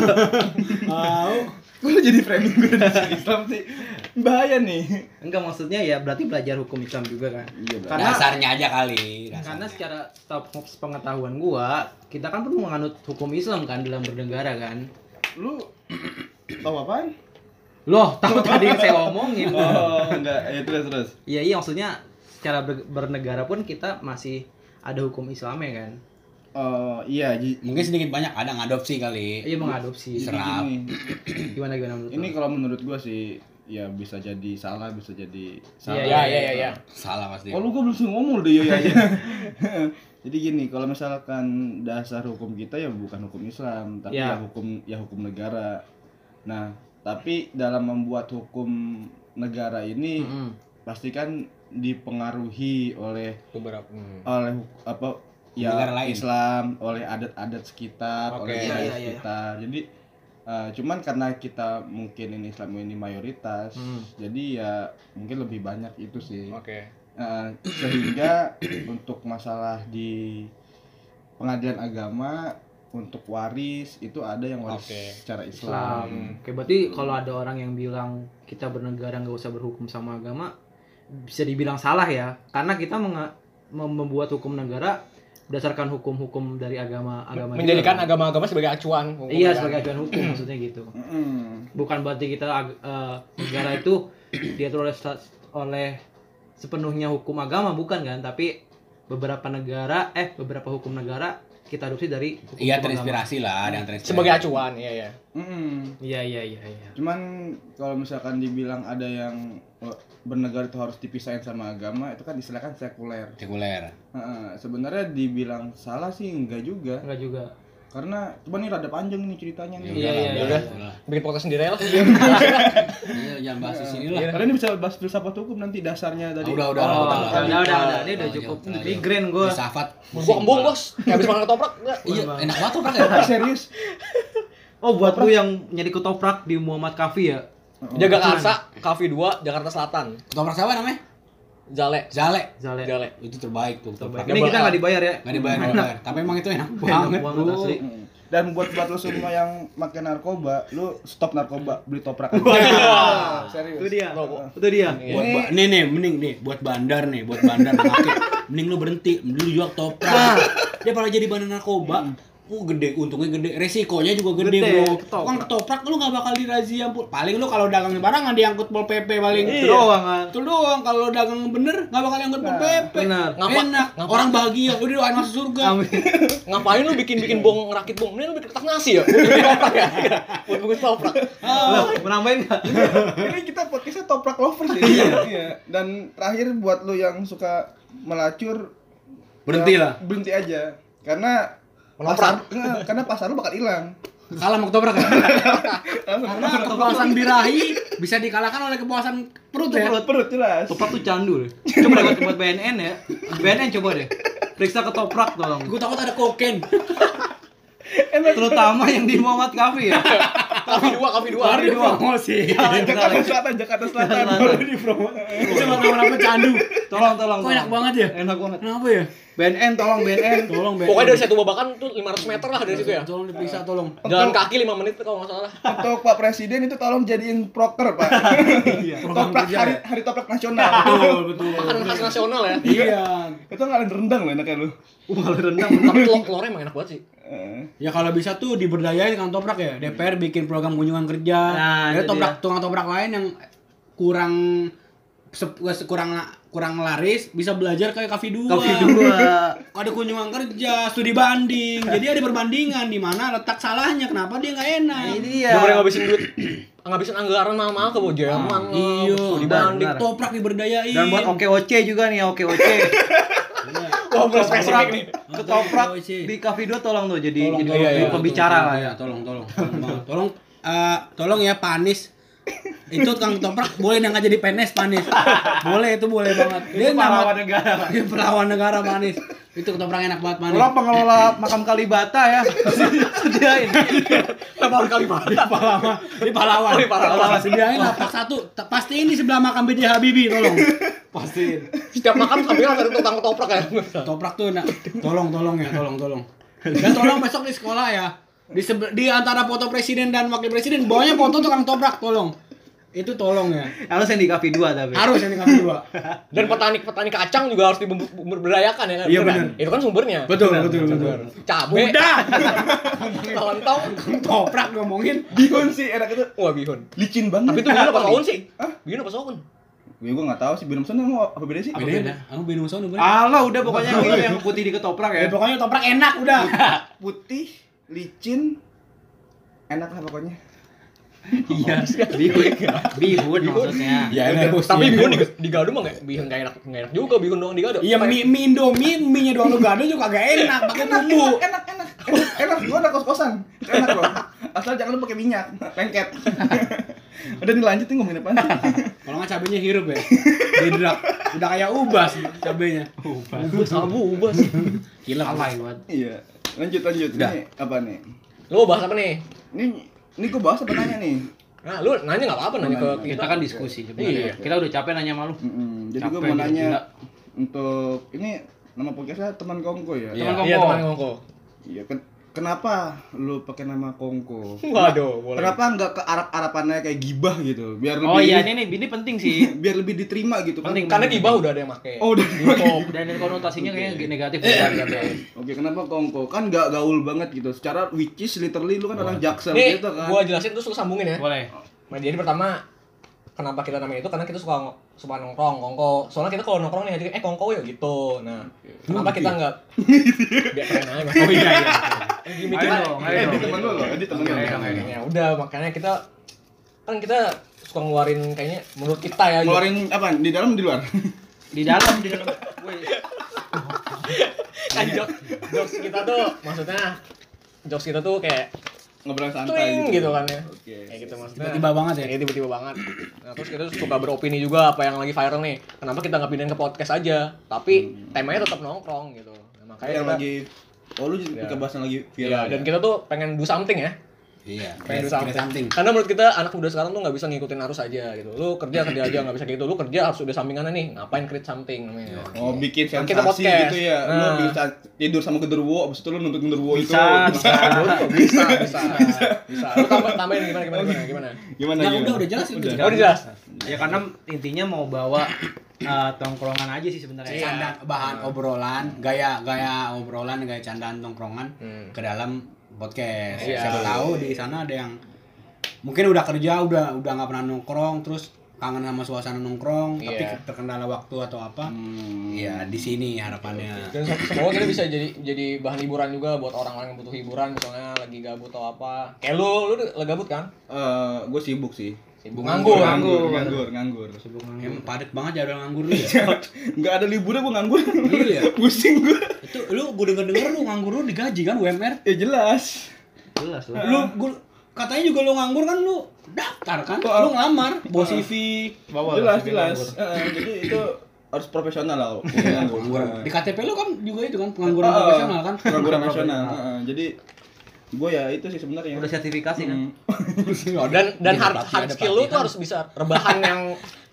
Mau. Kok lu jadi framing gue di Islam sih? [LAUGHS] Bahaya nih. [LAUGHS] Enggak maksudnya ya berarti belajar hukum Islam juga kan. Iya, Bang. Karena- Dasarnya aja kali. dasarnya. Karena secara top pengetahuan gua, kita kan perlu menganut hukum Islam kan dalam bernegara kan. lu [CLEARS THROAT] tahu apaan? Loh, tahu tadi yang saya omongin. Oh, enggak. Ya terus terus. Iya iya maksudnya secara ber- bernegara pun kita masih ada hukum Islamnya kan. Oh, iya, ji- mungkin sedikit banyak ada ngadopsi kali. Iya mengadopsi. Isra- Serap. Jadi gini, Gimana gimana menurut ini lu? kalau menurut gua sih ya bisa jadi salah, bisa jadi salah. Iya, iya, iya, iya. Salah pasti. Kalau gua belum sih ngomong deh ya aja. [LAUGHS] Jadi gini, kalau misalkan dasar hukum kita ya bukan hukum Islam, tapi Ya. ya hukum ya hukum negara. Nah, tapi dalam membuat hukum negara ini Mm-mm. pastikan dipengaruhi oleh Beberapa. Hmm. oleh huk- apa ya Negara lain. Islam oleh adat-adat sekitar Oke. oleh Iya, budaya iya, iya. sekitar jadi eh, cuman karena kita mungkin ini Islam ini mayoritas Hmm. jadi ya mungkin lebih banyak itu sih Oke. Eh, sehingga untuk masalah di pengadilan agama untuk waris itu ada yang waris Oke. secara Islam, Islam. Oke, berarti kalau ada orang yang bilang kita bernegara nggak usah berhukum sama agama, bisa dibilang salah ya, karena kita menga- mem- membuat hukum negara berdasarkan hukum-hukum dari agama agama. juga, Menjadikan kan? agama-agama sebagai acuan. Iya sebagai acuan hukum maksudnya gitu. Mm-mm. Bukan berarti kita ag- eh, negara itu diatur oleh sta- oleh sepenuhnya hukum agama bukan kan, tapi beberapa negara eh beberapa hukum negara kita adopsi dari hukum Iya terinspirasi lah, ada yang terinspirasi. sebagai acuan, iya iya. Mm-mm. Iya iya iya iya. Cuman kalau misalkan dibilang ada yang oh, bernegara itu harus dipisahin sama agama, itu kan istilahnya kan sekuler. sekuler. Heeh, sebenarnya dibilang salah sih enggak juga. Enggak juga. Karena cuman ini rada panjang nih ceritanya nih. Iya, iya, lah, iya. udah. Bikin podcast sendiri aja lah. Iya, jangan bahas di sini lah. Karena ini bisa bahas filsafat hukum nanti dasarnya tadi. Ah, Udah, udah, Oh, udah, udah, udah, udah, udah, ini udah Terlalu cukup. jauh, terlalu jauh. Migrain gue. Filsafat. Gua kembung, Bos. Kayak habis makan ketoprak. enggak. Iya, Bang. enak banget tuh Prak, Ah, ya. serius. Oh, buat lu yang nyari ketoprak di Muhammad Kafi ya? Jaga Karsa, Cafe 2, Jakarta Selatan. Ketoprak siapa namanya? Jale. Zale. Zale. Jale. Itu terbaik tuh. Terbaik. ketoprak. Ini kita nggak dibayar ya? Gak dibayar, nggak dibayar. Tapi emang itu enak Enak banget. banget bro. asli. Mm. Dan buat buat lo semua yang makan narkoba, lu stop narkoba, beli toprak. Wah. serius. Itu dia. Rokok. Itu dia. Buat ba- nih nih mending nih buat bandar nih, buat bandar nakik. Mending lu berhenti, mending lu jual toprak. Dia malah jadi bandar narkoba. Uh, gede, untungnya gede, resikonya juga gede, Gede, bro. ketoprak. Kan ketoprak lu gak bakal dirazia ampun. Paling lu kalau dagang barangan diangkut pol PP paling. Itu doang kan. Betul doang kalau lo dagang bener nggak bakal dianggap pol PP. benar. Ngapa- Enak. ngapa- Orang bahagia. Udah doain masuk surga. Amin. Ngapain lu bikin-bikin bong, rakit bong? Mending lu bikin kertas nasi ya. Buat bikin ketoprak ya. Buat bikin ketoprak. Lah, mau nambahin nggak? [LAUGHS] ini kita podcastnya toprak lovers ya. Iya. Dan terakhir buat lu yang suka melacur Berhenti ya, lah. Berhenti aja. Karena Menoprak. pasar- nggak, karena pasar lu bakal hilang. Kalah mau ketoprak ya? Karena kepuasan birahi bisa dikalahkan oleh kepuasan perut ya. Perut perut jelas. Ketoprak tuh candu deh. Coba deh buat BNN ya. BNN coba deh. Periksa ketoprak tolong. Gue takut ada koken. Terutama yang di Muhammad Kafi ya. Cafe 2, Cafe 2. Baru promosi. Jakarta Selatan, Jakarta Selatan. Selatan. Baru di promo. Bisa bakal apa candu. Tolong tolong. Kok enak tolong. banget ya? Enak banget. Kenapa ya? BNN tolong BNN. Tolong Ben. Pokoknya dari satu babakan tuh 500 meter lah dari situ ya. Iya. Tolong diperiksa tolong. Jalan kaki 5 menit kalau nggak salah. Untuk Pak Presiden itu tolong jadiin proker, Pak. Iya. Program toprak kerja, hari, Iya, ya? hari toprak nasional. Betul betul. Makanan khas nasional ya. Iya. itu ngalahin rendang loh enaknya lu. Uh, kalau rendang. Tapi telur telurnya emang enak banget sih. Eh, Ya kalau bisa tuh diberdayain kan toprak ya. DPR bikin program kunjungan kerja. Nah, ya itu toprak tukang toprak lain yang kurang sep- kurang kurang laris bisa belajar kayak kafe dua. Kafi dua. Ada kunjungan kerja, studi banding. Jadi ada perbandingan di mana letak salahnya, kenapa dia nggak enak. Nah, Ini dia. Udah boleh ngabisin duit. Ngabisin anggaran mahal-mahal ke Jerman. Iya, dibanding. benar. toprak diberdayain. Dan buat OKOC juga nih [LAUGHS] OKOC. Wah, bener spesifik ketoprak nih. iya, ketoprak Iya, sih. di Cafe 2 tolong tuh jadi tolong, jadi tolong, ya. jadi Iya, tolong, pembicara ya. tolong, lah iya, ya. Tolong, tolong, tolong, banget. tolong, eh, tolong ya Pak Anies itu kang toprak boleh nggak jadi PNS panis boleh itu boleh banget dia pahlawan nama negara. dia pahlawan negara manis itu ketoprak enak banget manis Orang pengelola makam Kalibata ya. [LAUGHS] Sediain. Lebar kali mata. pahlawan ini iya, pahlawan Oh, ini pahlawan. sediain lapak satu Te- pastiin di sebelah makam BJ Habibie tolong Pastiin. Setiap makan sambil ada tukang ketoprak ya. toprak tuh nak tolong tolong ya tolong tolong dan tolong besok di sekolah ya di sebe- di antara foto presiden dan wakil presiden bawahnya foto tukang toprak tolong itu tolong ya Harus yang di kafe dua tapi. harus yang dikasih [LAUGHS] dua Dan petani-petani kacang juga harus diberdayakan ya kan. Iya, Bener kan? bener. Itu kan sumbernya. betul betul betul Cabe, udah lontong, toprak ngomongin Bihun sih enak itu wah bihun. licin banget. Tapi itu bihun apa Apalagi. soun sih? Hah? Bihun apa soun? Ya gue nggak tahu sih bihun sana mau apa beda sih? apa beda ya, aku beda sama Sony, bener. Allah udah pokoknya yang ini yang putih di ketoprak ya. ya pokoknya toprak enak [LAUGHS] udah Putih, licin, enak lah pokoknya. iya Bihun. kan? Bihun maksudnya. ya enak bos Tapi Iya. bihun di- digado mah nggak- bihun nggak enak, nggak enak juga bihun doang digado. Iya, mie, mie Indomie, mie-nya doang lu gaduh juga agak enak, pakai bumbu. Enak, Iya, enak, enak, enak, enak. Gue ada kos-kosan, Itu enak loh. Asal jangan lu pakai minyak, lengket. Udah dilanjut nih ngomongin apa? Kalau nggak cabenya hirup ya, didrak. Udah kayak ubas cabenya. Ubas, abu, ubas. Gila, Alay buat. [LAUGHS] Iya, lanjut lanjut. Udah. Ini apa nih? Lu bahas apa nih? Ini ini gue bahas apa nanya nih? Nah, lu nanya nggak apa-apa nanya ke Kita kan diskusi Iya. sebenarnya. Kita udah capek nanya malu. Mm-mm. Jadi gue Capek mau nih, nanya gila. untuk ini nama podcastnya teman Kongko ya. Iya. Iya, teman ngongko. Iya. ken- kenapa lu pakai nama Kongko? Waduh, boleh. Kenapa nggak ke Arab Arapannya kayak gibah gitu? Biar lebih Oh iya ini nih ini penting sih. biar lebih diterima gitu kan. Penting. Karena gibah udah ada yang make. Oh udah. Dan konotasinya kayaknya negatif. [LAUGHS] Eh. Oke, kenapa Kongko? Kan nggak gaul banget gitu. Secara which is literally lu kan orang Jaksel Nih, gitu kan. gua jelasin terus lu sambungin ya. Boleh. Nah, jadi pertama kenapa kita namanya itu karena kita suka ngo- suka nongkrong, kongko. Soalnya kita kalau nongkrong nih jadi eh kongko yuk gitu. Nah, kenapa kita enggak biar keren aja. Oh iya iya. Gimik Ayo kita. dong, ayo Eh, dong. di temen lu loh, di temen lu. Oke, ayo, ayo. Ya udah makanya kita kan kita suka ngeluarin kayaknya menurut kita ya. Ngeluarin apa? Di dalam di luar? [LAUGHS] Di dalam di dalam. Woi. kan jokes, jokes kita tuh maksudnya jokes kita tuh kayak Ngobrol santai twing gitu. gitu kan ya. Oke. Kayak gitu maksudnya. Tiba-tiba banget ya. Ini tiba-tiba banget. Nah, terus kita suka beropini juga apa yang lagi viral nih. Kenapa kita nggak pindahin ke podcast aja? Tapi temanya tetap nongkrong gitu. Nah, makanya Yang kita- lagi Oh lu Ya. juga bahas yang lagi viral. ya? Iya, dan kita tuh pengen do something ya. Iya, Pengen do something. Karena menurut kita anak muda sekarang tuh nggak bisa ngikutin arus aja gitu. Lu kerja kerja aja nggak bisa gitu. Lu kerja harus udah sampingan nih. Ngapain create something Iya. namanya? Oh bikin Kan sensasi kita podcast. gitu ya. Nah. Lu bisa tidur sama genderuwo, abis itu lu nuntut genderuwo itu. Bisa, bisa. Oh, bisa, bisa, bisa. Lu tambah, tambahin gimana gimana gimana gimana. [LAUGHS] Gimana Nah, gimana? udah udah jelas itu. Udah. Oh, udah jelas. Ya Iya. karena intinya mau bawa eh, tongkrongan aja sih Iya. Iya. sebenarnya. Canda bahan Hmm. obrolan, gaya gaya obrolan, gaya candaan tongkrongan Hmm. ke dalam podcast. Iya. Siapa tahu di sana ada yang mungkin udah kerja, udah udah nggak pernah nongkrong, terus kangen sama suasana nongkrong, tapi Iya. terkendala waktu atau apa. Hmm. Iya, di sini harapannya. Dan se- semoga kita bisa jadi jadi bahan hiburan juga buat orang-orang yang butuh hiburan misalnya lagi gabut atau apa. Kayak lu, lu lagi gabut kan? Eh, gue sibuk sih. Sibuk nganggur. Nganggur. nganggur, nganggur. Sibuk nganggur. Emang padat banget jadwal nganggur lu [LAUGHS] ya. [LAUGHS] Enggak ada liburnya gue nganggur. Iya. [LAUGHS] Pusing gue. itu lu gue denger denger lu nganggur lu digaji kan UMR Ya jelas. Jelas lah. lu gua, katanya juga lu nganggur kan lu daftar kan lu ngelamar bawa CV bawa jelas, lah, jelas. nganggur. Eh, jadi itu harus profesional lah. kalau Nganggur. Eh, di KTP lu kan juga itu kan pengangguran eh, eh, Iya, profesional kan Pengangguran nasional. Eh, eh, jadi gue ya itu sih sebenarnya. Udah sertifikasi kan. Hmm. [LAUGHS] Oh, Dan dan Iya, Ada hard, pelatihan, hard ada skill lu tuh pelatihan. harus bisa rebahan [LAUGHS] yang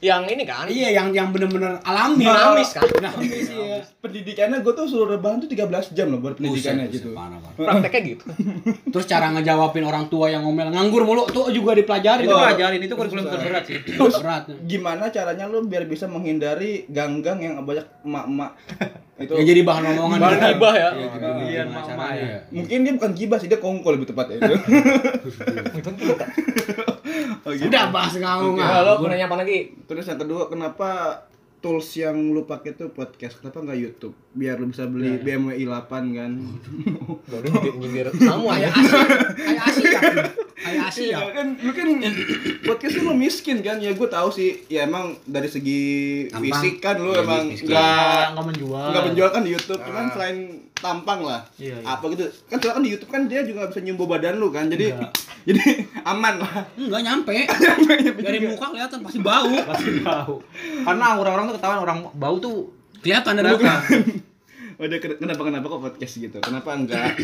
yang ini kan? iya yang yang bener-bener alami Dinamis kan? dinamis iya Pendidikannya gue tuh suruh rebahan tuh 13 jam loh buat pendidikannya Buset, buset, gitu. parah, parah. Prakteknya gitu. terus cara ngejawabin orang tua yang ngomel nganggur mulu tuh juga Itu dipelajari tuh Wah. pelajarin itu kurikulum terberat sih. berat gimana caranya lu biar bisa menghindari gang-gang yang banyak [LAUGHS] emak-emak itu ya jadi bahan omongan Bahan juga. gibah ya. Iya, gimana- Iya, gimana mama caranya ya. ya. mungkin dia bukan gibah sih dia kongkol lebih tepat ya [LAUGHS] [LAUGHS] Itu kita. Oh, gitu. udah bahas nganggur Nah, lu mau nanya apa lagi? terus yang kedua kenapa tools yang lu pakai tuh podcast kenapa nggak YouTube biar lu bisa beli BMW i8 kan [LAUGHS] Iya. [LAUGHS] Iya, Baru nyindir nyindir. Kamu aja asik. kayak asik kan kayak Asia. Iya kan, lu kan podcast lu mah miskin kan ya gue tahu sih ya emang dari segi Tampang. fisik kan lu Iya, emang miskin. Nggak nggak nggak menjual. Ah. nggak menjual kan di YouTube Ah. cuman selain tampang lah Iya, iya. apa gitu kan soalnya kan di YouTube kan dia juga nggak bisa nyumbo badan lu kan jadi Nggak. [LAUGHS] jadi aman lah Iya. Enggak [LAUGHS] nyampe. Dari muka kelihatan pasti bau. Pasti bau. Karena orang-orang tuh ketahuan orang bau tuh Kelihatan dari muka. udah ken- kenapa kenapa kok podcast gitu kenapa enggak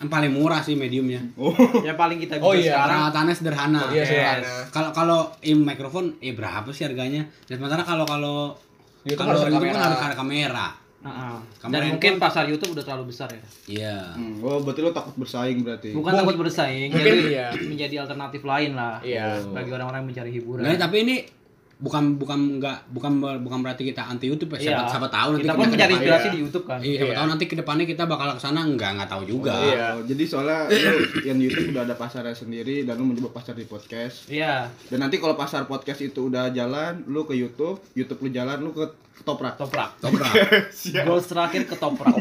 Yang paling murah sih mediumnya. oh ya paling kita bisa Oh, iya. sekarang. Peralatannya sederhana. Iya, sederhana. Kalau kalau eh, mikrofon eh berapa sih harganya? Dan sementara kalau kalau YouTube kalau harus ada YouTube kan kamera. harus ada kamera. Heeh. Kamera Dan handphone. mungkin pasar YouTube udah terlalu besar ya. Iya. Hmm, oh berarti lu takut bersaing berarti Bukan takut bersaing, mungkin jadi iya. menjadi alternatif lain lah. Iya. Bagi orang-orang yang mencari hiburan. Nah, tapi ini bukan bukan enggak bukan bukan berarti kita anti YouTube ya. Siapa, siapa tahu Iya. nanti kita pun ke mencari depan- inspirasi iya. di YouTube kan. Iya, siapa Iya. tahu nanti ke depannya kita bakal ke sana enggak enggak tahu juga. Oh, Iya. jadi soalnya lu yang di YouTube udah ada pasarnya sendiri dan lu mencoba pasar di podcast Iya. dan nanti kalau pasar podcast itu udah jalan lu ke YouTube YouTube lu jalan lu ke ketoprak Toprak. Toprak. Goals terakhir ke toprak.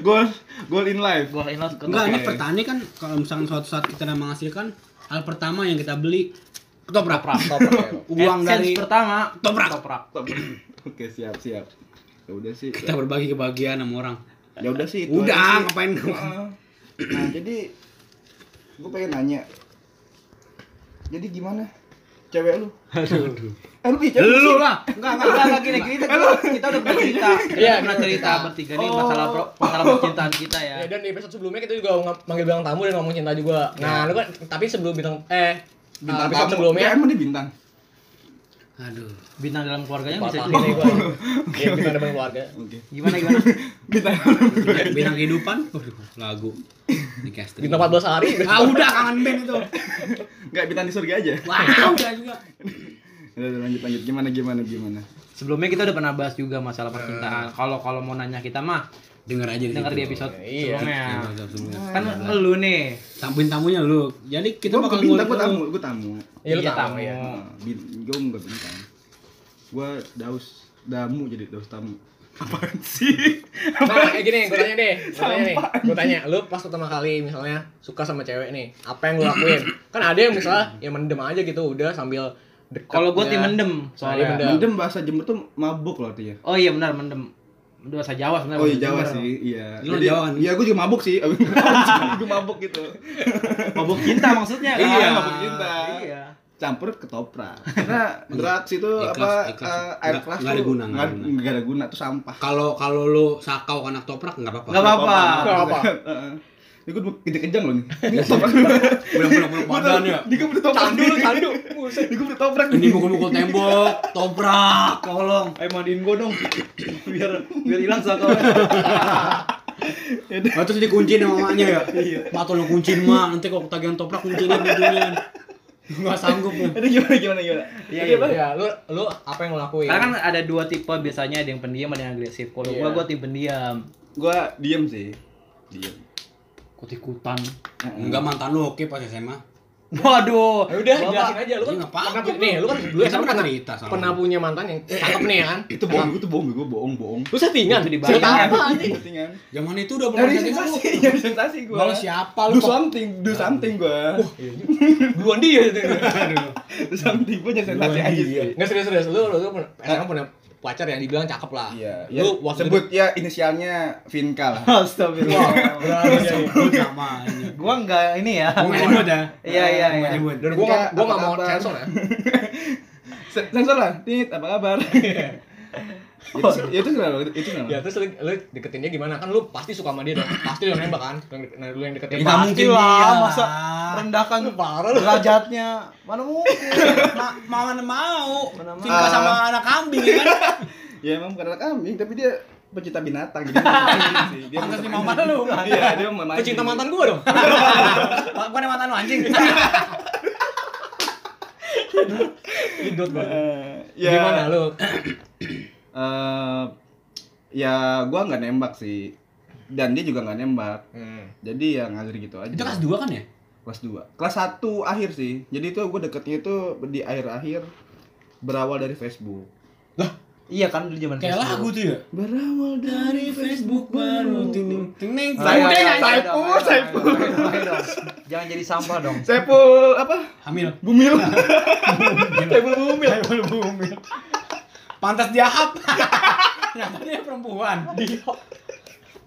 goal goal in life Goal in love ke Enggak, ini toprak. petani kan kalau misalnya suatu saat kita udah menghasilkan hal pertama yang kita beli ketoprak Top ya. [LAUGHS] uang AdSense dari pertama Toprak. Toprak. oke siap siap ya udah sih kita berbagi kebahagiaan sama orang. ya udah sih itu aja Udah sih. ngapain Heeh. nah jadi gue pengen nanya jadi gimana cewek lu eh lu punya cewek Lu nggak sih? lah. Enggak, enggak, enggak, enggak gini gini kita, kita udah pernah cerita. Kita Iya, pernah gitu. cerita bertiga nih Oh. masalah pro- masalah percintaan kita ya. Ya, dan di episode sebelumnya kita juga ng- manggil bintang tamu dan ngomong cinta juga. Nah, lu kan tapi sebelum bintang eh bintang bintang tamu tapi ya? Iya, sebelumnya emang dia bintang Aduh. Bintang dalam keluarganya bisa patah cerita. ini gua. Iya, bintang depan keluarga. oke Gimana gimana? bintang Bintang Iya, kehidupan. Waduh, lagu. Di casting. Bintang 14 [LAUGHS] hari. Ah udah kangen band itu. nggak bintang di surga aja Wah, udah juga. udah udah, lanjut lanjut gimana gimana gimana Sebelumnya kita udah pernah bahas juga masalah percintaan. Kalau kalau mau nanya kita mah Dengar aja di denger situ. di episode Iya. sebelumnya. Dengar episode sebelumnya. Kan lu nih. Tampin tamunya lu. Jadi kita gue bakal bukan bintang gue ngulik tamu lu. gue tamu Ah, Iya, lu Iya, tamu tamu. ya. gue nggak bintang gue daus damu jadi daus tamu [LAUGHS] apaan sih Nah, kayak gini, gue tanya deh, gue tanya nih, gue tanya, lu pas pertama kali misalnya suka sama cewek nih, apa yang lu lakuin? Kan ada yang misalnya ya mendem aja gitu, udah sambil deket. Kalau gua tim ya. mendem Soalnya soalnya. mendem. mendem bahasa jember tuh mabuk loh artinya Oh iya benar mendem. Bahasa Jawa sebenarnya. Oh iya bahasa Jawa Jember. sih, iya. Lu Jadi- Jawa kan? Iya, gue juga mabuk sih. [LAUGHS] gue mabuk gitu. Mabuk cinta maksudnya kan. Iya, mabuk cinta. Iya. Campur [LAUGHS] ketoprak. Karena drugs itu Ikhlas, apa ikhlas. eh, air Nggak- keras nggak ada tuh guna, nggak ada guna. nggak ada guna tuh sampah. Kalau kalau lu sakau anak toprak enggak apa-apa. Nggak apa-apa. Nggak apa-apa. Heeh. [LAUGHS] Ini gue kejang-kejang loh nih. Iya, Belum-belum badannya. Ini gue udah toprak. Candu lu, candu. Buset. Ini gue udah toprak. ya. Ini mukul-mukul tembok, toprak, kolong. Ayo mandiin gua dong. [COUGHS] biar biar hilang sakau. Nah, terus dikunciin sama mamanya ya. Mak tolong kuncin mak, nanti kalau ketagihan toprak kuncinya kuncinya. Enggak sanggup lu. Ini gimana gimana gimana. Iya, Jadi apa? Ya, lu lu apa yang lu lakuin? Karena kan ada dua tipe biasanya ada yang pendiam ada yang agresif. Kalau Iya. gua gua tim pendiam. Gue diem sih. Diem. Ikut-ikutan. Enggak mantan lu oke pas SMA. Waduh. Ya udah, Bapak. jelasin aja Iya, lu kan. Ini ngapain? Pernah punya nih, lu kan dulu Lu SMA SMA pernah kan cerita sama. pernah punya mantan yang cakep nih ya kan? Itu bohong, gue tuh bohong, gue bohong, bohong. Lu settingan Itu tuh dibayar. apa anjing? Settingan. Zaman itu udah Dari jadi sensasi, lu. dari sensasi gue. Kalau siapa lu Do kok? something, do something gue. Duluan dia [LAUGHS] gitu. Iya. itu. Do something, gue jadi sensasi aja sih. Enggak serius-serius, lu lu, lu pernah- SMA punya pacar yang dibilang cakep lah. Iya. Ya, Lu waktu sebut ya inisialnya Vinka lah. Astagfirullah. Iya, Sebut namanya. gua enggak ini ya. Gua enggak nyebut ya. Iya iya iya. Nyebut. Dan gua nggak- gua Apa enggak mau kabar? sensor ya. Se- Sensor lah, Tit, apa kabar? [LAUGHS] Itu sih- itu kenapa? Itu Ya Iya. kenapa? terus lu, lu deketin dia gimana? Kan lu pasti suka sama dia dong. Pasti lu yang nembak kan? Lu yang- Nah, lu yang deketin. Ya, nggak mungkin dia. Masa merendahkan parah lu. derajatnya. Mana mungkin. mau kan mau. Mana mau. Cinta sama anak kambing ya [LAUGHS] kan. Ya emang bukan anak kambing, tapi dia pecinta [LAUGHS] binatang jadi dia anjing sih. Dia Pantas nih anjing. mama lu. Iya, dia mama. anjing. Pecinta mantan gua dong. [LAUGHS] Gua ada mantan lu anu, anjing. Idot banget. Eh, ya, Gimana lu? eh, ya gua nggak nembak sih. Dan dia juga nggak nembak. Hmm. Jadi ya ngalir gitu aja. Itu kelas 2 kan ya? kelas 2 kelas 1 akhir sih jadi itu gue deketnya itu di akhir-akhir berawal dari Facebook Iya kan dulu zaman Kayak lagu tuh ya. Berawal dari Facebook baru ting ting ting. Nah, iya, Saya Udah nyanyi. saya Saipul, Saipul. iya, Jangan jadi sampah dong. Sepul apa? Hamil. Bumil. Saiful Bumil. Pantas [LAUGHS] jahat. Ternyata dia perempuan.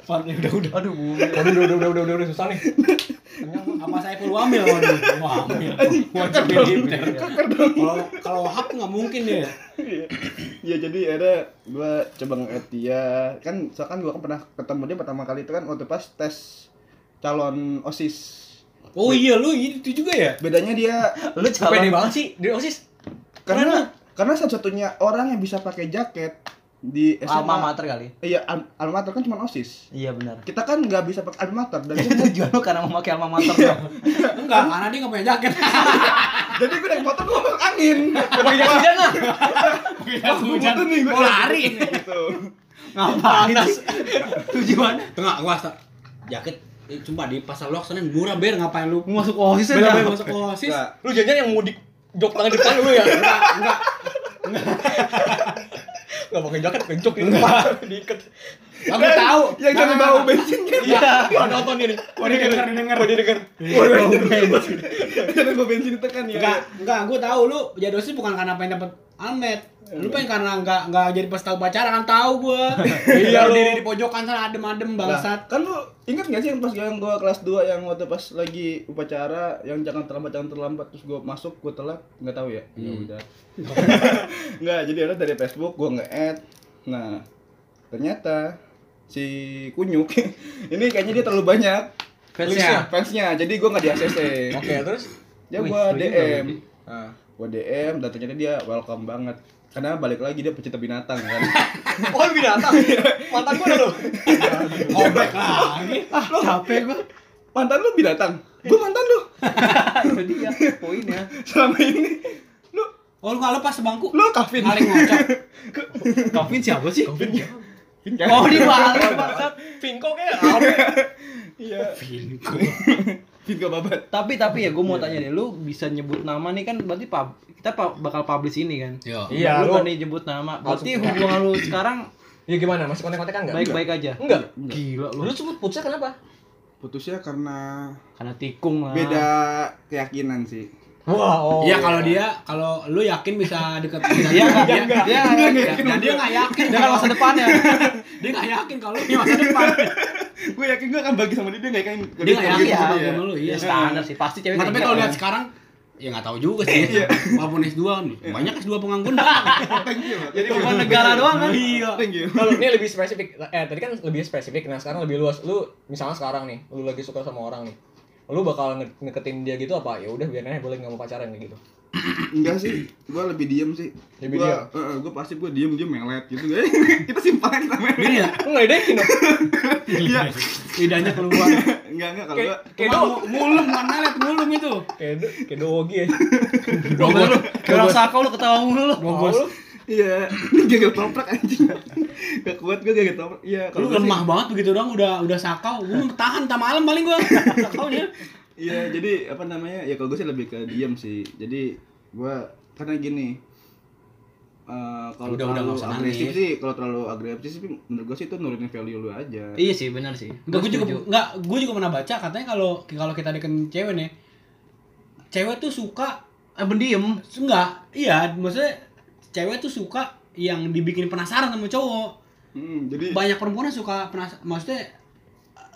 Pan, ya udah udah. Aduh, bumil. Waduh, udah, udah, udah, udah, udah, udah, susah nih. Apa Saiful Wamil waduh. [LAUGHS] Wamil. Wajib militer. Kalau kalau Wahab nggak mungkin dia. Ya jadi ada gua coba nge-add dia. Kan soalnya kan gua kan pernah ketemu dia pertama kali itu kan waktu pas tes calon OSIS. Oh iya lu itu juga ya? Bedanya dia Lu Pede calon banget sih, dia osis. karena karena satu-satunya orang yang bisa pakai jaket di SMA. alma mater kali. Iya, al- alma mater kan cuma OSIS. Iya benar. Kita kan nggak bisa pakai alma mater dan [LAUGHS] Jadi tujuan lu karena memakai alma mater dong. Enggak, karena dia nggak punya jaket. jadi gue naik motor gue masuk [LAUGHS] angin. Pakai jas hujan lah. Pas hujan nih, gua mau lari. gitu. Ngapain sih? Tujuan Tengah gua asta. Jaket eh, Sumpah di pasar luak sana murah ber ngapain lu? masuk OSIS Bela ya? aja. bela masuk osis. [LAUGHS] Nggak. Lu jangan yang mudik jok tangan depan dulu ya. Enggak, enggak. Enggak pakai jaket, pakai jok di depan diikat. Aku tahu. [LAUGHS] Nah, Nggak, Yang jadi nggak, bau nggak. bensin kan? Iya, gua nonton ini. Oh, dia denger, dia denger. Gua denger. Iya, Jadi bau bensin itu kan ya. Iya, Enggak, enggak, gue tahu lu jadi dosis bukan karena pengen dapet Ahmed. Lu pengen karena enggak enggak jadi pas tahu pacaran kan tahu gue. [LAUGHS] Iya, lu. diri di pojokan sana adem-adem Nah, bangsat. kan lu inget gak sih yang pas yang gua kelas 2 yang waktu pas lagi upacara yang jangan terlambat jangan terlambat terus gua masuk gua telat nggak tahu ya ya udah [LAUGHS] nggak jadi ada dari Facebook gua nge-add nah ternyata si kunyuk [LAUGHS] ini kayaknya dia terlalu banyak Fansnya. fansnya jadi gua nggak di ACC Oke, terus ya gua Wih, DM Nah. gua DM dan ternyata dia welcome banget karena balik lagi dia pecinta binatang kan [LAUGHS] Oh, lu binatang. Mantan gua dah lu. Obek lagi. Ah. [LAUGHS] Capek gua. mantan lu binatang gua mantan lu [LAUGHS] Ah, Itu dia poinnya. selama ini lu Oh, lu enggak lepas sebangku. lu kafin Paling ngocok. Kevin siapa sih? oh Oh, di balik Bangsat, Vinko kayak apa? iya [LAUGHS] Vinko babat Tapi tapi ya gue mau tanya nih, lu bisa nyebut nama nih kan berarti pub- kita pa- bakal publish ini kan. Yo. Iya, lu lu. kan nyebut nama. Berarti hubungan lu sekarang Ya gimana? Masih kontak-kontakan enggak? baik-baik aja. Enggak. Gila Lu lu. sebut putusnya kenapa? putusnya karena Karena tikung lah. beda keyakinan sih Wah, oh. Iya kalau dia kalau lu yakin bisa [LAUGHS] deket bisa Iya enggak? dia, Dia dia dan dia nggak yakin dia kan masa depannya. dia nggak yakin kalau lu punya masa [LAUGHS] depan gue yakin gue akan bagi sama dia dia nggak yakin dia nggak yakin Iya, sama iya. agama lu Iya iya standar sih, pasti cewek. Nah, tapi kayak kalau gitu. lihat sekarang ya nggak tahu juga sih Iya. walaupun S2 nih banyak S2 pengangguran thank you jadi cuma negara doang kan. iya thank you Kalau ini lebih spesifik. Eh, tadi kan lebih spesifik. Nah, sekarang lebih luas. Lu misalnya sekarang nih, lu lagi suka sama orang nih. Lu bakal nge- ngeketin dia gitu apa? Ya udah biar aja boleh nggak mau pacaran [LAUGHS] kayak gitu. enggak sih gue lebih diem sih Lebih gue gue pasti gue diem dia melet gitu [LAUGHS] guys kita simpan kita melet gini ya Lu ngeledekin dong. iya lidahnya keluar enggak enggak kalau gue Kayak kayak Cuma do mu- mulum bukan melet mulum itu kayak do kayak dogi ya. Gua lu. Kalau sako lu ketawa mulu lu. Mau lu iya [LAUGHS] ini gagal toprak anjing gak kuat gue gagal toprak iya lu kalau gua sih- lemah banget begitu doang udah udah sakau gua mau tahan tak malam [LAUGHS] paling gua sakaunya Iya, jadi apa namanya? Ya kalau gue sih lebih ke diem sih. Jadi gua karena gini. eh kalau Udah, udah, terlalu nggak usah agresif nangis. sih, kalau terlalu agresif sih menurut gue sih itu nurunin value lu aja. Iya sih, benar sih. Enggak, gue juga Setuju. enggak, gue juga pernah baca katanya kalau kalau kita deketin cewek nih, cewek tuh suka eh pendiam. enggak, iya maksudnya cewek tuh suka yang dibikin penasaran sama cowok. Hmm, jadi Banyak perempuan yang suka penasaran, maksudnya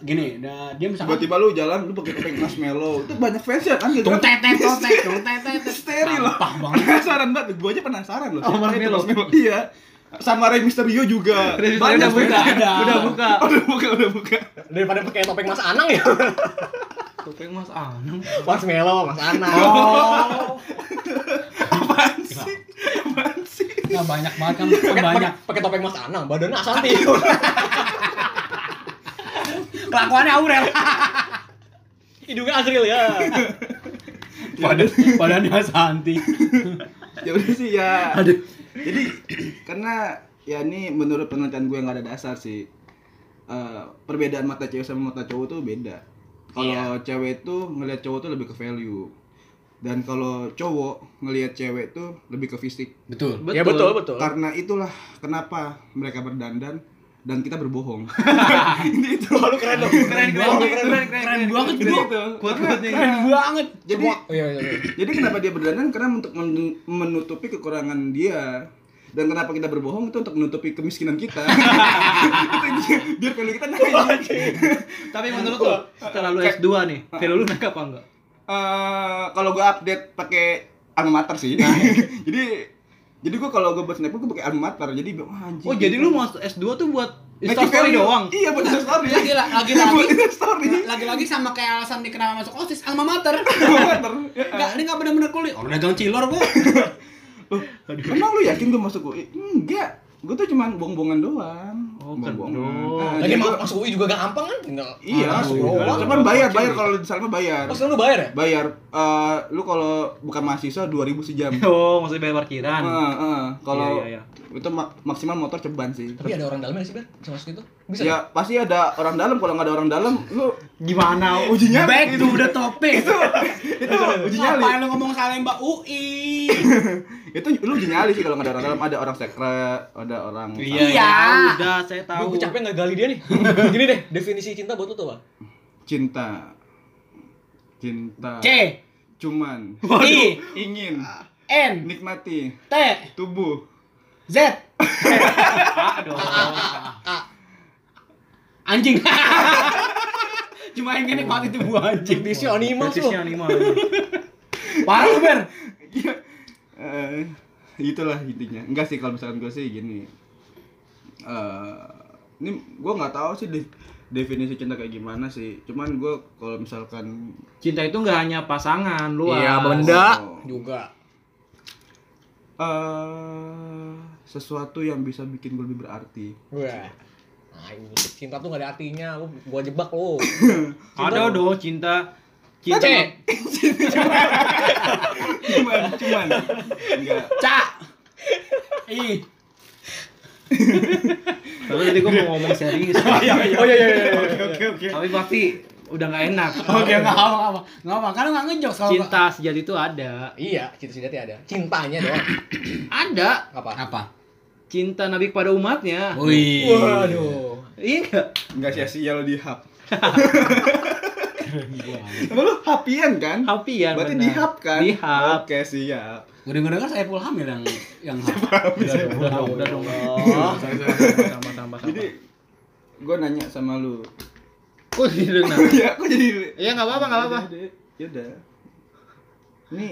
gini, nah, dia misalkan tiba-tiba lu jalan lu pakai topeng marshmallow. Itu banyak fans ya kan gitu. tung kan? tetet tung tet tung tetet tet. Steril loh. Sampah banget. Penasaran banget, gue aja penasaran loh. Oh, Siapa itu marshmallow. Iya. Sama Rey Mysterio juga. Udah Banyak buka. beda. [LAUGHS] Udah buka. Oh, udah buka, udah buka. daripada pakai topeng Mas Anang [LAUGHS] ya. Topeng Mas Anang. Mas Melo, Mas Anang. Oh, Apaan sih? Apaan sih? enggak banyak banget kan Pakai banyak. banyak pakai topeng Mas Anang, badannya Asanti. Kelakuannya Aurel. Hidungnya Azril ya. Padahal padahal dia Santi. ya udah sih ya Aduh. jadi karena ya ini menurut penelitian gue nggak ada dasar sih Eh, perbedaan mata cewek sama mata cowok tuh beda kalau cewek tuh ngelihat cowok tuh lebih ke value Dan kalau cowok ngelihat cewek tuh lebih ke fisik. Betul. Ya [LAUGHS] betul, betul. Karena itulah kenapa mereka berdandan dan kita berbohong. Lalu keren dong. Keren keren keren keren keren banget Jadi gua. itu. Kuat banget nih. banget. Jadi Oh, iya, iya, iya. jadi kenapa dia berdandan? Karena untuk men- menutupi kekurangan dia. Dan kenapa kita berbohong itu untuk menutupi kemiskinan [LAUGHS] kita. itu dia, biar value kita Oh, naik. Tapi menurut lo setelah lu S2 nih, value lu naik apa enggak? Eh, kalau gue update pakai alma mater sih. Nah. [LAUGHS] jadi jadi gue kalau gue buat snap gue pakai alma mater. Jadi wah anjing. Oh, jadi lu mau S2 tuh buat Naikin instastory value. doang. Iya buat instastory. Lagi lagi [LAUGHS] Buat lagi instastory. lagi-lagi sama kayak alasan dia kenapa masuk osis alma mater. Alma mater. Ya. Enggak, ini enggak benar-benar kuliah. Oh, Orang dagang cilor gua. Emang lu yakin gue masuk UI? Enggak. Gue tuh cuman bohongan doang. Oh, Bohong-bohongan. kedok. Ah, Lagi jadi ma- gua- masuk UI juga gampang kan? Tinggal Iya, masuk doang. cuman bayar, bayar kalau di Salma bayar. Oh, sekarang lu bayar ya? Bayar. Eh, lu kalau bukan mahasiswa 2000 [LAUGHS] sejam. Oh, maksudnya bayar parkiran. Heeh, heeh. Eh, Kalau Iya, iya, itu mak- maksimal motor ceban sih. Tapi ada orang dalamnya sih, Ber. Bisa masuk itu? Bisa. Ya pasti ada orang dalam kalau nggak ada orang dalam [LAUGHS] lu Gimana? ujinya Back to the [LAUGHS] topic. itu uji nyali Ngapain lu ngomong salah Mbak UI? itu lu uji nyali sih kalau nggak ada orang dalam ada orang sekre ada orang Iya, Iya. ya udah saya Gue tahu. gue capek nggak gali dia nih. [LAUGHS] Gini deh, definisi cinta buat lu tuh, Bang. cinta cinta C cuman I ingin N nikmati T tubuh Z anjing. [LAUGHS] Cuma yang gini pati tubuh anjing. Definisi animal Fetishnya tuh. animal. Parah lu, Ber. Eh, itulah intinya enggak sih kalau misalkan gue sih gini Eh, ini gue nggak tahu sih de- definisi cinta kayak gimana sih cuman gue kalau misalkan Cinta itu nggak hanya pasangan, luas. Oh, Juga. eh sesuatu yang bisa bikin gue lebih berarti [LAUGHS] Wah. Nah, ini cinta tuh gak ada artinya. Lu gua jebak lu. Ada dong cinta cinta. cuman cuman enggak Ca. I. Tapi tadi gua mau ngomong serius. Oh iya iya iya. Tapi pasti udah nggak enak. Oke, enggak apa-apa. Enggak apa-apa. Kan lu enggak ngejokes kalau gua- Cinta sejati itu ada. Iya, cinta sejati ada. Cintanya doang. Ada Apa? apa? cinta Nabi kepada umatnya. Wih. Waduh. Iya nggak? enggak sia-sia lo di hub Emang lu hapian kan? Hapian. Berarti benar. di hub kan? Di hub. Oke siap Udah dengar saya Saiful Hamil yang yang Oh, Udah dong, udah dong. Sorry, sorry, sorry. Tambah, tambah, Jadi gue nanya sama lu tambah. Kok tidak nah? Ya aku jadi Iya nggak apa-apa, nggak apa-apa. Ya udah Ini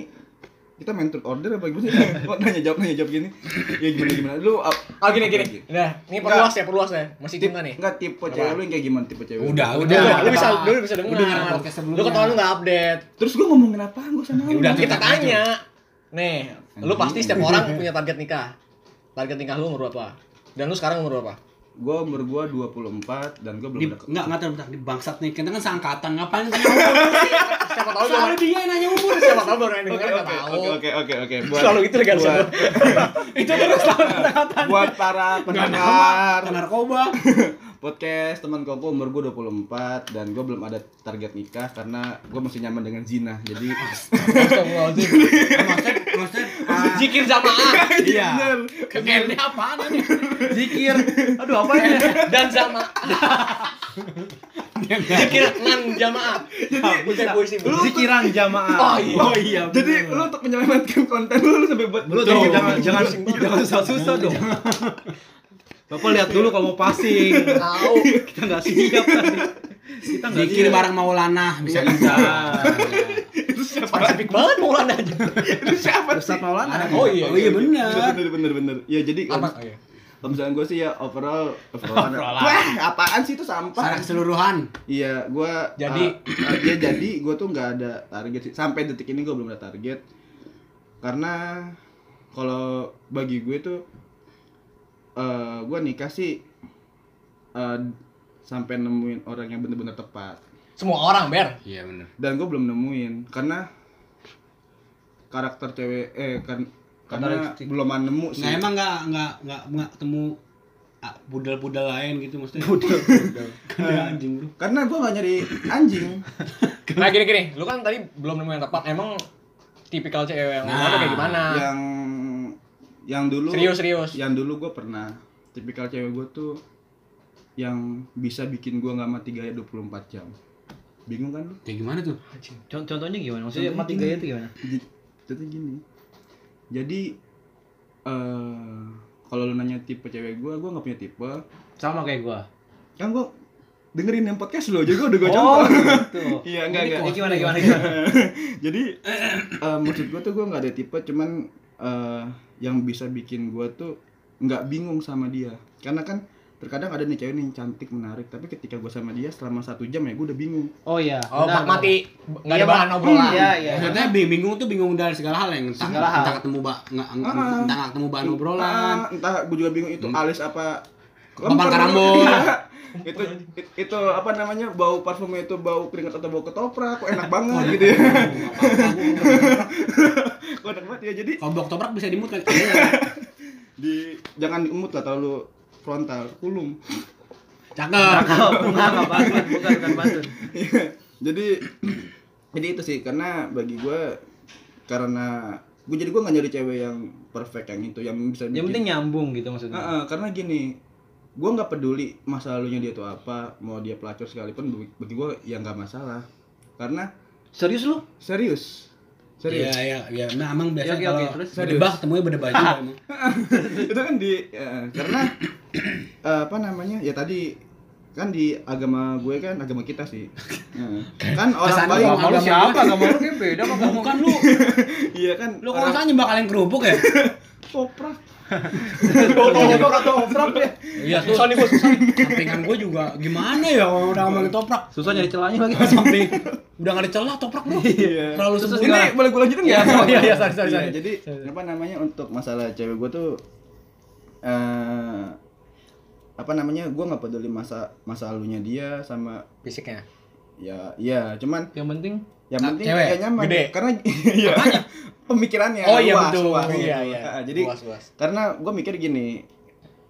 kita main turn order apa [LAUGHS] gimana? Kok nanya jawab nanya jawab gini? Ya gimana gimana? Lu up, Oh gini gini. Nah, ini perluas ya, perluas ya. Masih tip, cinta nih. enggak tipe cewek lu yang kayak gimana tipe cewek? Udah, Udah, udah. lu bisa lu bisa dengar. Ah, Udah dengar podcast sebelumnya. Lu ketahuan lu enggak update. Terus gue ngomong kenapa? Gue sama lu. Udah, Ya Kita tetap tanya. Nih, lu pasti setiap orang punya target nikah. Target nikah lu umur berapa? Dan lu sekarang umur berapa? Gue umur gue 24 dan gue belum di deket. enggak enggak bentar di bangsat nih kita kan seangkatan [LAUGHS] ngapain tanya umur sih? Siapa Oh, tahu Selalu baru- dia yang nanya umur. siapa tahu baru yang denger enggak Oke, tahu. Oke oke oke [LAUGHS] oke. Buat- Selalu gitu kan buat, selalu. [LAUGHS] Itu terus lah kata-kata. buat para pendengar Kena narkoba. podcast teman koko umur gue 24 dan gue belum ada target nikah karena gue masih nyaman dengan zina. Jadi Astagfirullahaladzim. Maksud maksud ah, Zikir jamaah iya. Kegennya apaan ini? Zikir. Aduh, apa ya? ini? dan jamaah. Zikir nan jamaah. Puisi puisi. puisi. Zikiran jamaah. Oh, iya. Oh iya. jadi lu untuk menyelamatkan konten lu, lu sampai buat Lu Tuh. jangan jangan jangan jangan susah-susah dong. Bapak lihat dulu kalau mau passing. Tahu. Kita nggak siap tadi. Kita nggak Iya. Dikir [LAUGHS] siap. barang Maulana bisa bisa. Spesifik banget Maulana aja. Ustaz Maulana. Oh iya. Oh iya benar. bener bener bener. Ya jadi Apa? kalau kalau misalkan gue sih ya overall overall. Overall. Wah, apaan sih itu Secara sampah? keseluruhan. Iya, gua Jadi- uh, uh, ya jadi gua tuh nggak ada target sih. Sampai detik ini gua belum ada target. Karena kalau bagi gue tuh eh gua nikah sih eh, sampai nemuin orang yang bener-bener tepat. Semua orang ber. Iya benar. Dan gua belum nemuin karena karakter cewek eh kan karena Karakteristik. belum nemu Oh, sih. Nah emang enggak enggak enggak enggak ketemu ah, budal-budal lain gitu [LAUGHS] maksudnya. Budal. [LAUGHS] Kan dia Eh. anjing lu. Karena gua nggak nyari anjing. Nah gini gini, lu kan tadi belum nemu yang tepat. Emang tipikal cewek yang Nah, nah, kayak gimana? yang yang dulu Serius serius. yang dulu gue pernah tipikal cewek gue tuh yang bisa bikin gue nggak mati gaya 24 jam bingung kan lu Kayak gimana tuh? Con- Contohnya gimana? Maksudnya Contohnya mati gaya itu gimana? Jadi- jadi gini jadi eh kalau lu nanya tipe cewek gue gue nggak punya tipe Sama kayak gua. kan gue dengerin yang podcast lu jadi gue udah gue contoh Oh, gitu. iya enggak enggak Ini gimana gimana gimana? jadi eh, maksud gue tuh gue nggak ada tipe cuman eh, yang bisa bikin gue tuh nggak bingung sama dia karena kan terkadang ada nih cewek nih yang cantik menarik tapi ketika gue sama dia selama satu jam ya gue udah bingung Oh iya. Oh, benar, mak- mati enggak Iya, ada bahan Mak. obrolan. Iya, iya. Maksudnya bing- bingung tuh bingung dari segala hal yang entah, Segala hal. entah ketemu ba, nggak- entah Ah. nggak ketemu bahan obrolan. Hmm. Ah, entah gue juga bingung itu alis apa Papan Lempar. karambol. Iya. itu it- itu apa namanya bau parfumnya itu bau keringat atau bau ketoprak kok enak banget gitu ya [LAUGHS] kok enak banget ya jadi Kalau blok toprak bisa dimut kan? di jangan diemut lah kalau lu frontal kulum Cakep. Oh, enggak enggak bantun, bukan bukan bantun. Iya. jadi [CLEARS THROAT] jadi itu sih karena bagi gue karena gue jadi gue nggak nyari cewek yang perfect yang itu yang bisa Yang penting nyambung gitu maksudnya. Heeh, karena gini gue nggak peduli masa lalunya dia tuh apa mau dia pelacur sekalipun bagi- bagi gue ya nggak masalah karena Serius lu? serius Iya serius iya iya. Nah, emang biasa Oke, oke, kalau terus. berdebat temunya berdebat [LAUGHS] juga emang. [LAUGHS] itu kan di eh, karena eh, apa namanya ya tadi kan di agama gue kan agama kita sih Heeh. kan orang Kesannya Bali ngomong agama gue. Kamu lu kayak beda sama kamu. Bukan lu, [LAUGHS] iya kan lu kalau orang saya nyembah kalian kerupuk ya? toprak Iya tuh. Susah nih bos, susah. Sampingan gue juga gimana ya kalau udah ngomongin toprak? Susah nyari celahnya lagi. Samping udah nggak ada celah toprak lu. Iya. Terlalu Ini sempurna. boleh gue lanjutin nggak? oh, iya, iya, sorry, sorry, Iya, sorry. Jadi apa namanya untuk masalah cewek gue tuh eh apa namanya gue nggak peduli masa masa lalunya dia sama Fisiknya. ya iya cuman [LAUGHS] Yang penting yang Ah, penting cewek, ya nyaman gede. karena [LAUGHS] iya pemikirannya Oh iya luas, betul. luas. Iya iya. Ah, jadi luas luas. karena gue mikir gini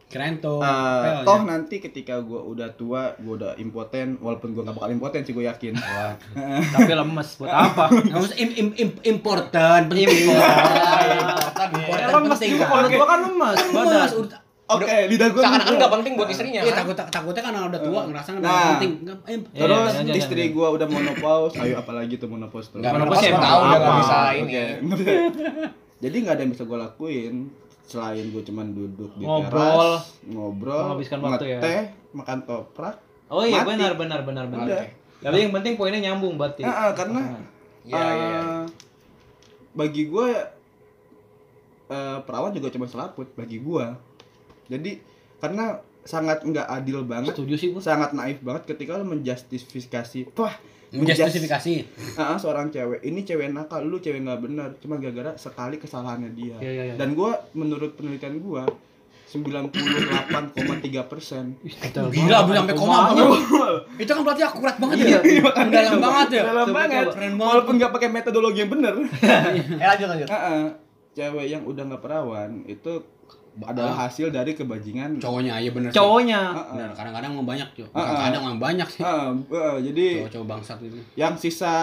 Keren tuh. eh, Pel, toh nanti ketika gue udah tua gue udah impoten walaupun gue gak bakal impoten sih gue yakin tapi lemes buat apa? ya. Nggak usah im, im, im, important, penting. Iya. Important, important penting. kan? Kalau gua kan lemes, badan. Lemes, udah- [LAUGHS] oke lidah gue Seakan-akan enggak penting buat istrinya. Iya kan? takut takutnya kan orang udah tua ngerasa nggak Nah. penting. Nggak- eh, Iya, Terus jangan, jangan, istri jangan. gua udah menopause, ayo apalagi tuh menopause tuh. Enggak Menopause ya, menopause emang siapa tahu apa? udah enggak bisa ini. Oke. [LAUGHS] Jadi nggak ada yang bisa gua lakuin selain gua cuman duduk di Ngobrol. teras, ngobrol, Menghabiskan waktu ya. ngeteh, makan toprak. Oh iya Mati. benar benar benar benar. Udah. Tapi yang penting poinnya nyambung berarti. Nah, ah, karena Iya iya. iya. eh, bagi gua eh, perawan juga cuma selaput bagi gua. Jadi karena sangat nggak adil banget, Ah, Setuju sih gua. sangat naif banget ketika lo menjustifikasi, wah Justifikasi. Ah, seorang cewek ini cewek nakal lu cewek nggak benar cuma gara-gara sekali kesalahannya Iya dia iya iya. dan gua menurut penelitian gua 98,3 persen Gila, belum sampai koma. Itu kan berarti akurat banget ya. Iya, Mendalam banget ya. dalam banget Keren banget. walaupun nggak pakai metodologi yang benar Eh lanjut lanjut. cewek yang udah nggak perawan itu adalah Ah. hasil dari kebajingan Cowoknya aja bener. sih. Cowoknya. Ah, Bener, ah. kadang-kadang emang banyak, cuy. Ah, ah. Kadang emang banyak sih. Ah, ah, jadi Cowok-cowok bangsat itu. yang sisa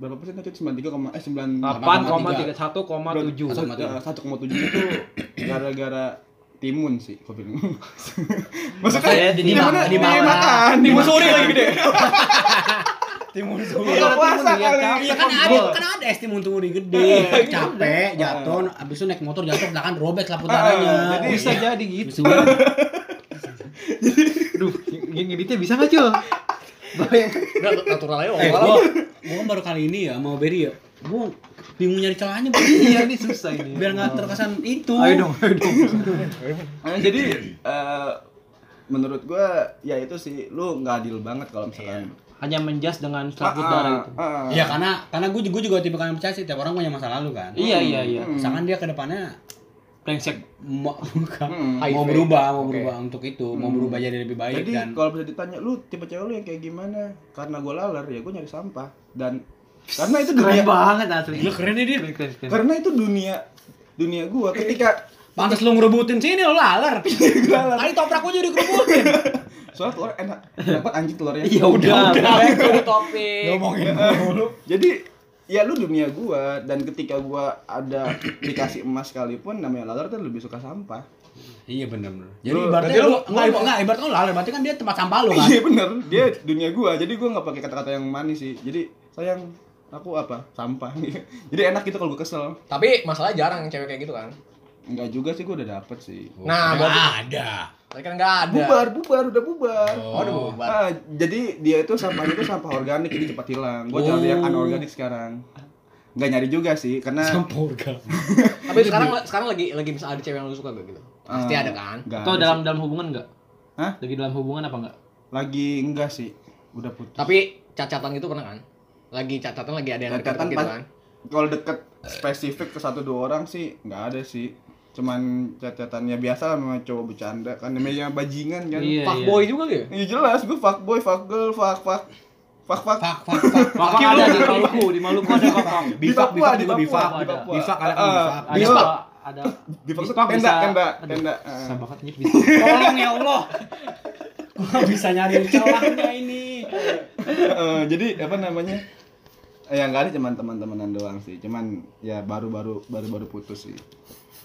berapa persen tadi 93, eh 9 8,31,7. 1,7 [COUGHS] itu gara-gara timun sih [LAUGHS] kau bilang maksudnya Maksudnya di dimakan, mana di dimakan. makan di Timun suri lagi gede. Timun Iya, suri. Iya, timun, puasa kali. iya, Iya kan ada, kan ada es timun turi Eh, gede, capek, jatuh, abis itu naik motor jatuh belakang robek selaput Ah, darahnya. eh. jadi Bisa jadi gitu. Bisa banget. Duh, yang ngeditnya bisa enggak, Cul? Udah natural aja Eh, walau. gua, gua kan baru kali ini ya sama Berry ya. Gua bingung nyari celahnya, Bang. Iya, ini susah ini. biar nggak terkesan itu. Ayo dong, ayo dong. Eh, jadi eh, menurut gua ya itu sih lu nggak adil banget kalau misalkan Hanya menjas dengan selaput Iya. darah Ah, itu. ah, ah. Iya karena karena gua juga, gua juga tipe kalian percaya sih tiap orang punya masa lalu kan. Iya, iya, iya. Hmm. Misalkan dia ke depannya Brengsek. mau, bukan, Hmm. mau HIV. berubah, mau Oke. berubah untuk itu, mau berubah jadi lebih iya baik jadi kan. dan kalau bisa ditanya lu tipe cewek lu yang kayak gimana karena gua laler ya gua nyari sampah dan karena itu dunia Keren banget asli. Gila, keren nih dia. Iya, Keren, keren, keren. karena itu dunia dunia [LAUGHS] gua ketika pantas lu ngerebutin sini lu [LAUGHS] laler. Laler. Tadi toprak gua jadi kerebutin. soalnya telur enak dapat anjing telurnya Ya Iya, udah, Udah, udah topik. Ngomongin. jadi ya lu dunia gua dan ketika gua ada dikasih emas sekalipun namanya laler tuh lebih suka sampah Iya bener bener. Jadi Lu- ibaratnya berarti lu enggak lu- lu- ibarat- enggak ibaratnya lu lalai berarti kan dia tempat sampah lu kan. [LAUGHS] iya bener dia dunia gua jadi gua nggak pakai kata-kata yang manis sih jadi sayang aku apa sampah [LAUGHS] jadi enak gitu kalau gua kesel Tapi masalahnya jarang cewek kayak gitu kan. Enggak juga sih gua udah dapet sih Nah, Nggak berarti ada. tadi kan enggak ada. bubar bubar udah bubar Oh. Waduh, bubar. Ah, jadi dia itu sampahnya itu sampah organik jadi cepat hilang. Gua Oh. cari yang anorganik sekarang. Nggak nyari juga sih karena Tapi sekarang sekarang lagi lagi misalnya ada cewek yang lu suka gak gitu. Pasti Eh, ada kan? nggak Atau ada dalam dalam hubungan enggak? Hah? Lagi dalam hubungan apa enggak? sih. lagi enggak sih. Udah putus. Tapi cacatan itu pernah kan? Lagi cacatan lagi ada yang dekat Cacatan gitu pas- kan. kalau deket spesifik ke satu dua orang sih nggak ada sih. Cuman catatannya biasa lah memang cowok bercanda kan namanya bajingan kan. Iya, Fuckboy juga gitu. Iya jelas gua fuckboy, fuckgirl, fuck fuck fuck fuck. Fak fak fak. Fak ada di Maluku, di Maluku ada Fak. Bifak bifak di juga Papua, bifak. di Papua. Bifak ada kan Ah, bifak. Eh, Ada Bispak. ada Di fuck Bispak tenda, bisa- tenda, aduh, tenda. Susah Eh. banget [LAUGHS] nyet Bispak. Tolong ya Allah. Gua bisa [LAUGHS] nyari celahnya ya. ini. Eh, jadi apa namanya ya nggak ada cuman teman-temanan doang sih cuman ya baru-baru baru-baru putus sih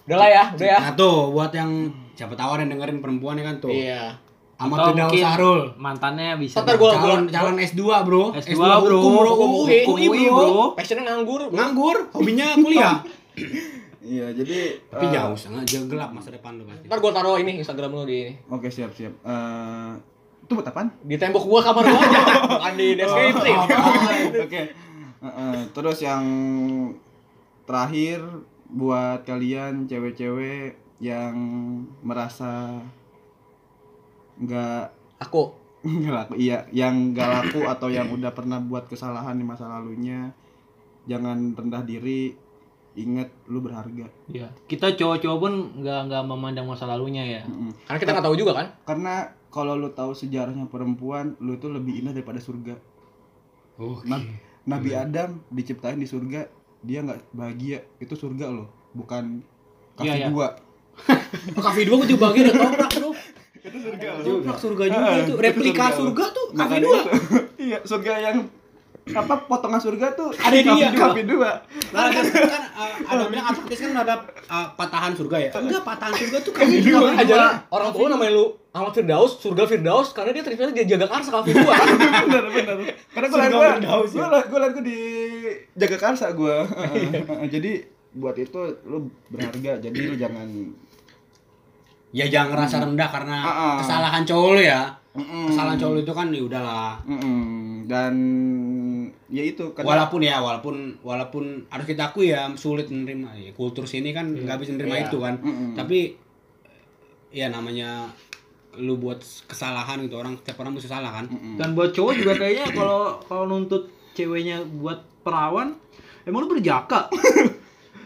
Udah lah ya, udah ya. Nah tuh buat yang siapa tahu ada yang dengerin perempuan ya kan tuh. Iya. Sama Atau tuh Daus mungkin Sarul. Mantannya bisa. Ntar gua- Calon calon S2, Bro. S2, bro. hukum, bro. Hukum UI, UI, UI, bro. bro. Passionnya nganggur. Nganggur, hobinya kuliah. iya jadi Tapi eh, jauh sangat jauh gelap masa depan lu pasti. Ntar gua taruh ini Instagram lu di oke siap siap Eh, itu buat apaan di tembok gua kamar gua. Bukan di deskripsi. Oh, oke Eh, eh, terus yang terakhir buat kalian cewek-cewek yang merasa nggak [LAUGHS] Aku nggak laku iya yang nggak laku atau yang Iya. udah pernah buat kesalahan di masa lalunya jangan rendah diri ingat lu berharga Iya. Kita cowok-cowok pun enggak enggak memandang masa lalunya ya. Mm-mm. karena kita nggak tahu juga kan. karena kalau lu tahu sejarahnya perempuan lu itu lebih indah daripada surga Nab- Nabi Iya. Adam diciptain di surga dia nggak bahagia itu surga loh bukan kaki Iya, iya. gua Kafe dua gua juga bagian udah toprak, Bro. itu surga Toprak surga juga Eh, itu. itu Replika surga. surga tuh kafe Makanya dua. [LAUGHS] itu. [LAUGHS] iya surga yang apa potongan surga tuh Ada kaki dia. kaki dua [LAUGHS] Kan, kan, kan uh, ada yang bilang Atlantis kan ada uh, patahan surga ya. Enggak, patahan surga tuh kafe dua. Ajaran orang tua namanya lu Ahmad Firdaus, surga Firdaus karena dia ternyata dia jaga karsa kafe gua. [LAUGHS] bener bener karena gue liat Surga gue Firdaus, ya? gue liat gue di jaga karsa [LAUGHS] gue Iya. [LAUGHS] jadi buat itu lu berharga jadi lu jangan Ya jangan ngerasa rendah karena Ah, ah. kesalahan cowok lu ya. Mm-mm. Kesalahan cowok lu itu kan ya udahlah. Mm-mm. dan ya itu karena Walaupun ya, walaupun walaupun harus kita akui ya sulit menerima ya, kultur sini kan nggak bisa menerima Iya. itu kan. Mm-mm. Tapi ya namanya lu buat kesalahan gitu orang setiap orang bisa salah kan. Mm-mm. Dan buat cowok juga kayaknya kalau kalau nuntut ceweknya buat perawan emang lu berjaka.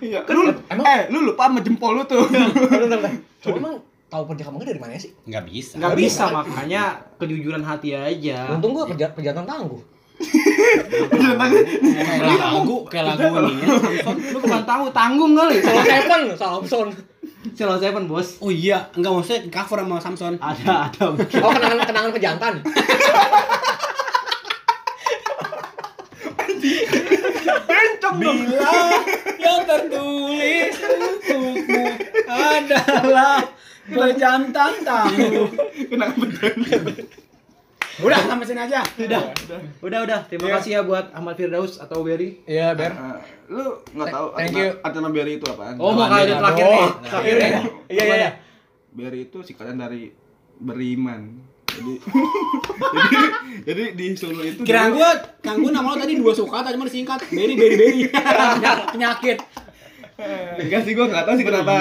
Iya. Kan lu eh lu lupa sama jempol lu tuh Iya. [LAUGHS] Cuma emang tahu perjaka kamu dari mana sih? Nggak bisa. Enggak bisa [LAUGHS] makanya kejujuran hati aja. Untung gua perja perjalanan tangguh. Kayak lagu, kayak lagu nih. ya. Lu bukan tahu tanggung kali. Salah Seven, salah Opson. Salah Seven, Bos. [LAUGHS] Oh iya, enggak maksudnya di cover sama Samson. Ada ada. Oh kenangan kenangan pejantan. Bila yang tertulis untukmu adalah pejantan tangguh. kenapa [LAUGHS] Udah, sampai sini aja. Udah. Udah udah, terima kasih ya buat Ahmad Firdaus atau Berry. Iya ber. Eh, lu nggak tahu Thank Adnan- you. Adnan Berry itu apaan Oh, mau kali terakhir nih. Terakhir nih. Iya iya iya. Berry itu singkatan dari beriman jadi [LAUGHS] jadi jadi di Solo itu Kira dulu- gua, Kang gua nama lo tadi dua suka tadi cuma disingkat. Beri beri beri. Ya, Penyak- Penyakit. Enggak sih gue nggak tahu sih kenapa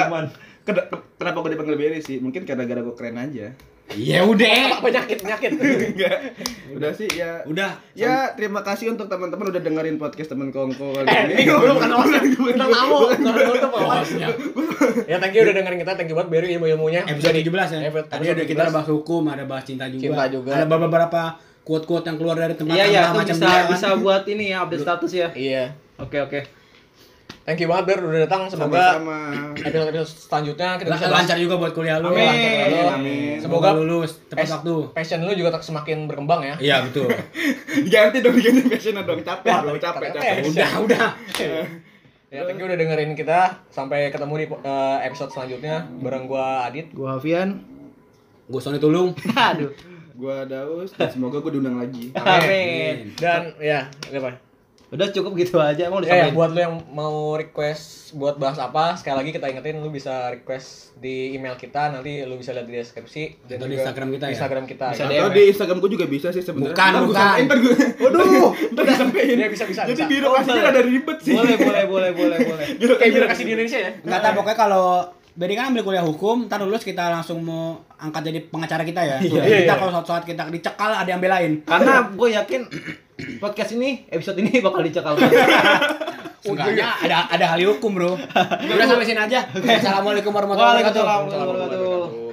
kena- kenapa gue dipanggil Berry sih mungkin karena gara gue keren aja [LAUGHS] Ya udah. Penyakit penyakit. enggak udah sih ya Udah. ya terima kasih untuk teman-teman udah dengerin podcast teman kongko kali [LAUGHS] Eh, ini gue bukan hostnya, kita tamu, bukan tuh Bawasnya. Ya thank you udah dengerin kita, thank you banget Berry ilmu-ilmunya. Episode 17 ya. Episode Tadi ada kita 17. ada bahas hukum, ada bahas cinta juga. Cinta juga. Ada beberapa quote-quote yang keluar dari tempat Iya ya, sampah itu bisa dia, kan. bisa buat ini ya update status ya. Iya. Oke oke. Thank you banget Ber udah datang. Semoga sama episode-episode selanjutnya kita bisa bahas lancar juga buat kuliah lu. Amin. lancar lu. Amin. Semoga Semoga lulus es- tepat waktu. passion lu juga tak semakin berkembang ya. Iya [LAUGHS] betul. Ganti dong ganti passion dong capek Iya, Wah, dong capek capek. Eh, capek. udah, udah. Ya, thank you udah dengerin kita. Sampai ketemu di eh, episode selanjutnya bareng gua Adit. Gua Hafian. Gue Sony Tulung. [LAUGHS] Aduh. Gua Daus dan semoga gua diundang lagi. Amin. Dan ya, udah Pak. Udah cukup gitu aja. Mau Ya, disampaikan. ya, buat lu yang mau request buat bahas apa, sekali lagi kita ingetin lu bisa request di email kita, nanti lu bisa lihat di deskripsi Atau di juga Instagram kita ya? Instagram kita. Bisa Gitu. Atau di Instagram gua juga bisa sih sebenarnya. Bukan, Ntar gua bukan. sampein, ntar gua. Waduh, ntar gua sampein. Iya, bisa, bisa, Jadi bisa. birokrasinya boleh. rada ribet sih. Boleh, boleh, boleh, boleh, boleh. Kayak birokrasi di Indonesia ya. Enggak tahu pokoknya kalau Beri kan ambil kuliah hukum, ntar lulus kita langsung mau angkat jadi pengacara kita ya. Iya, Jadi kita iya. kalau suatu saat kita dicekal ada yang belain. Karena gue yakin podcast ini episode ini bakal dicekal banget. Oh, iya. Enggaknya [LAUGHS] ada ada hal hukum, Bro. Udah sampai sini aja. Assalamualaikum warahmatullahi wabarakatuh. Waalaikumsalam warahmatullahi wabarakatuh.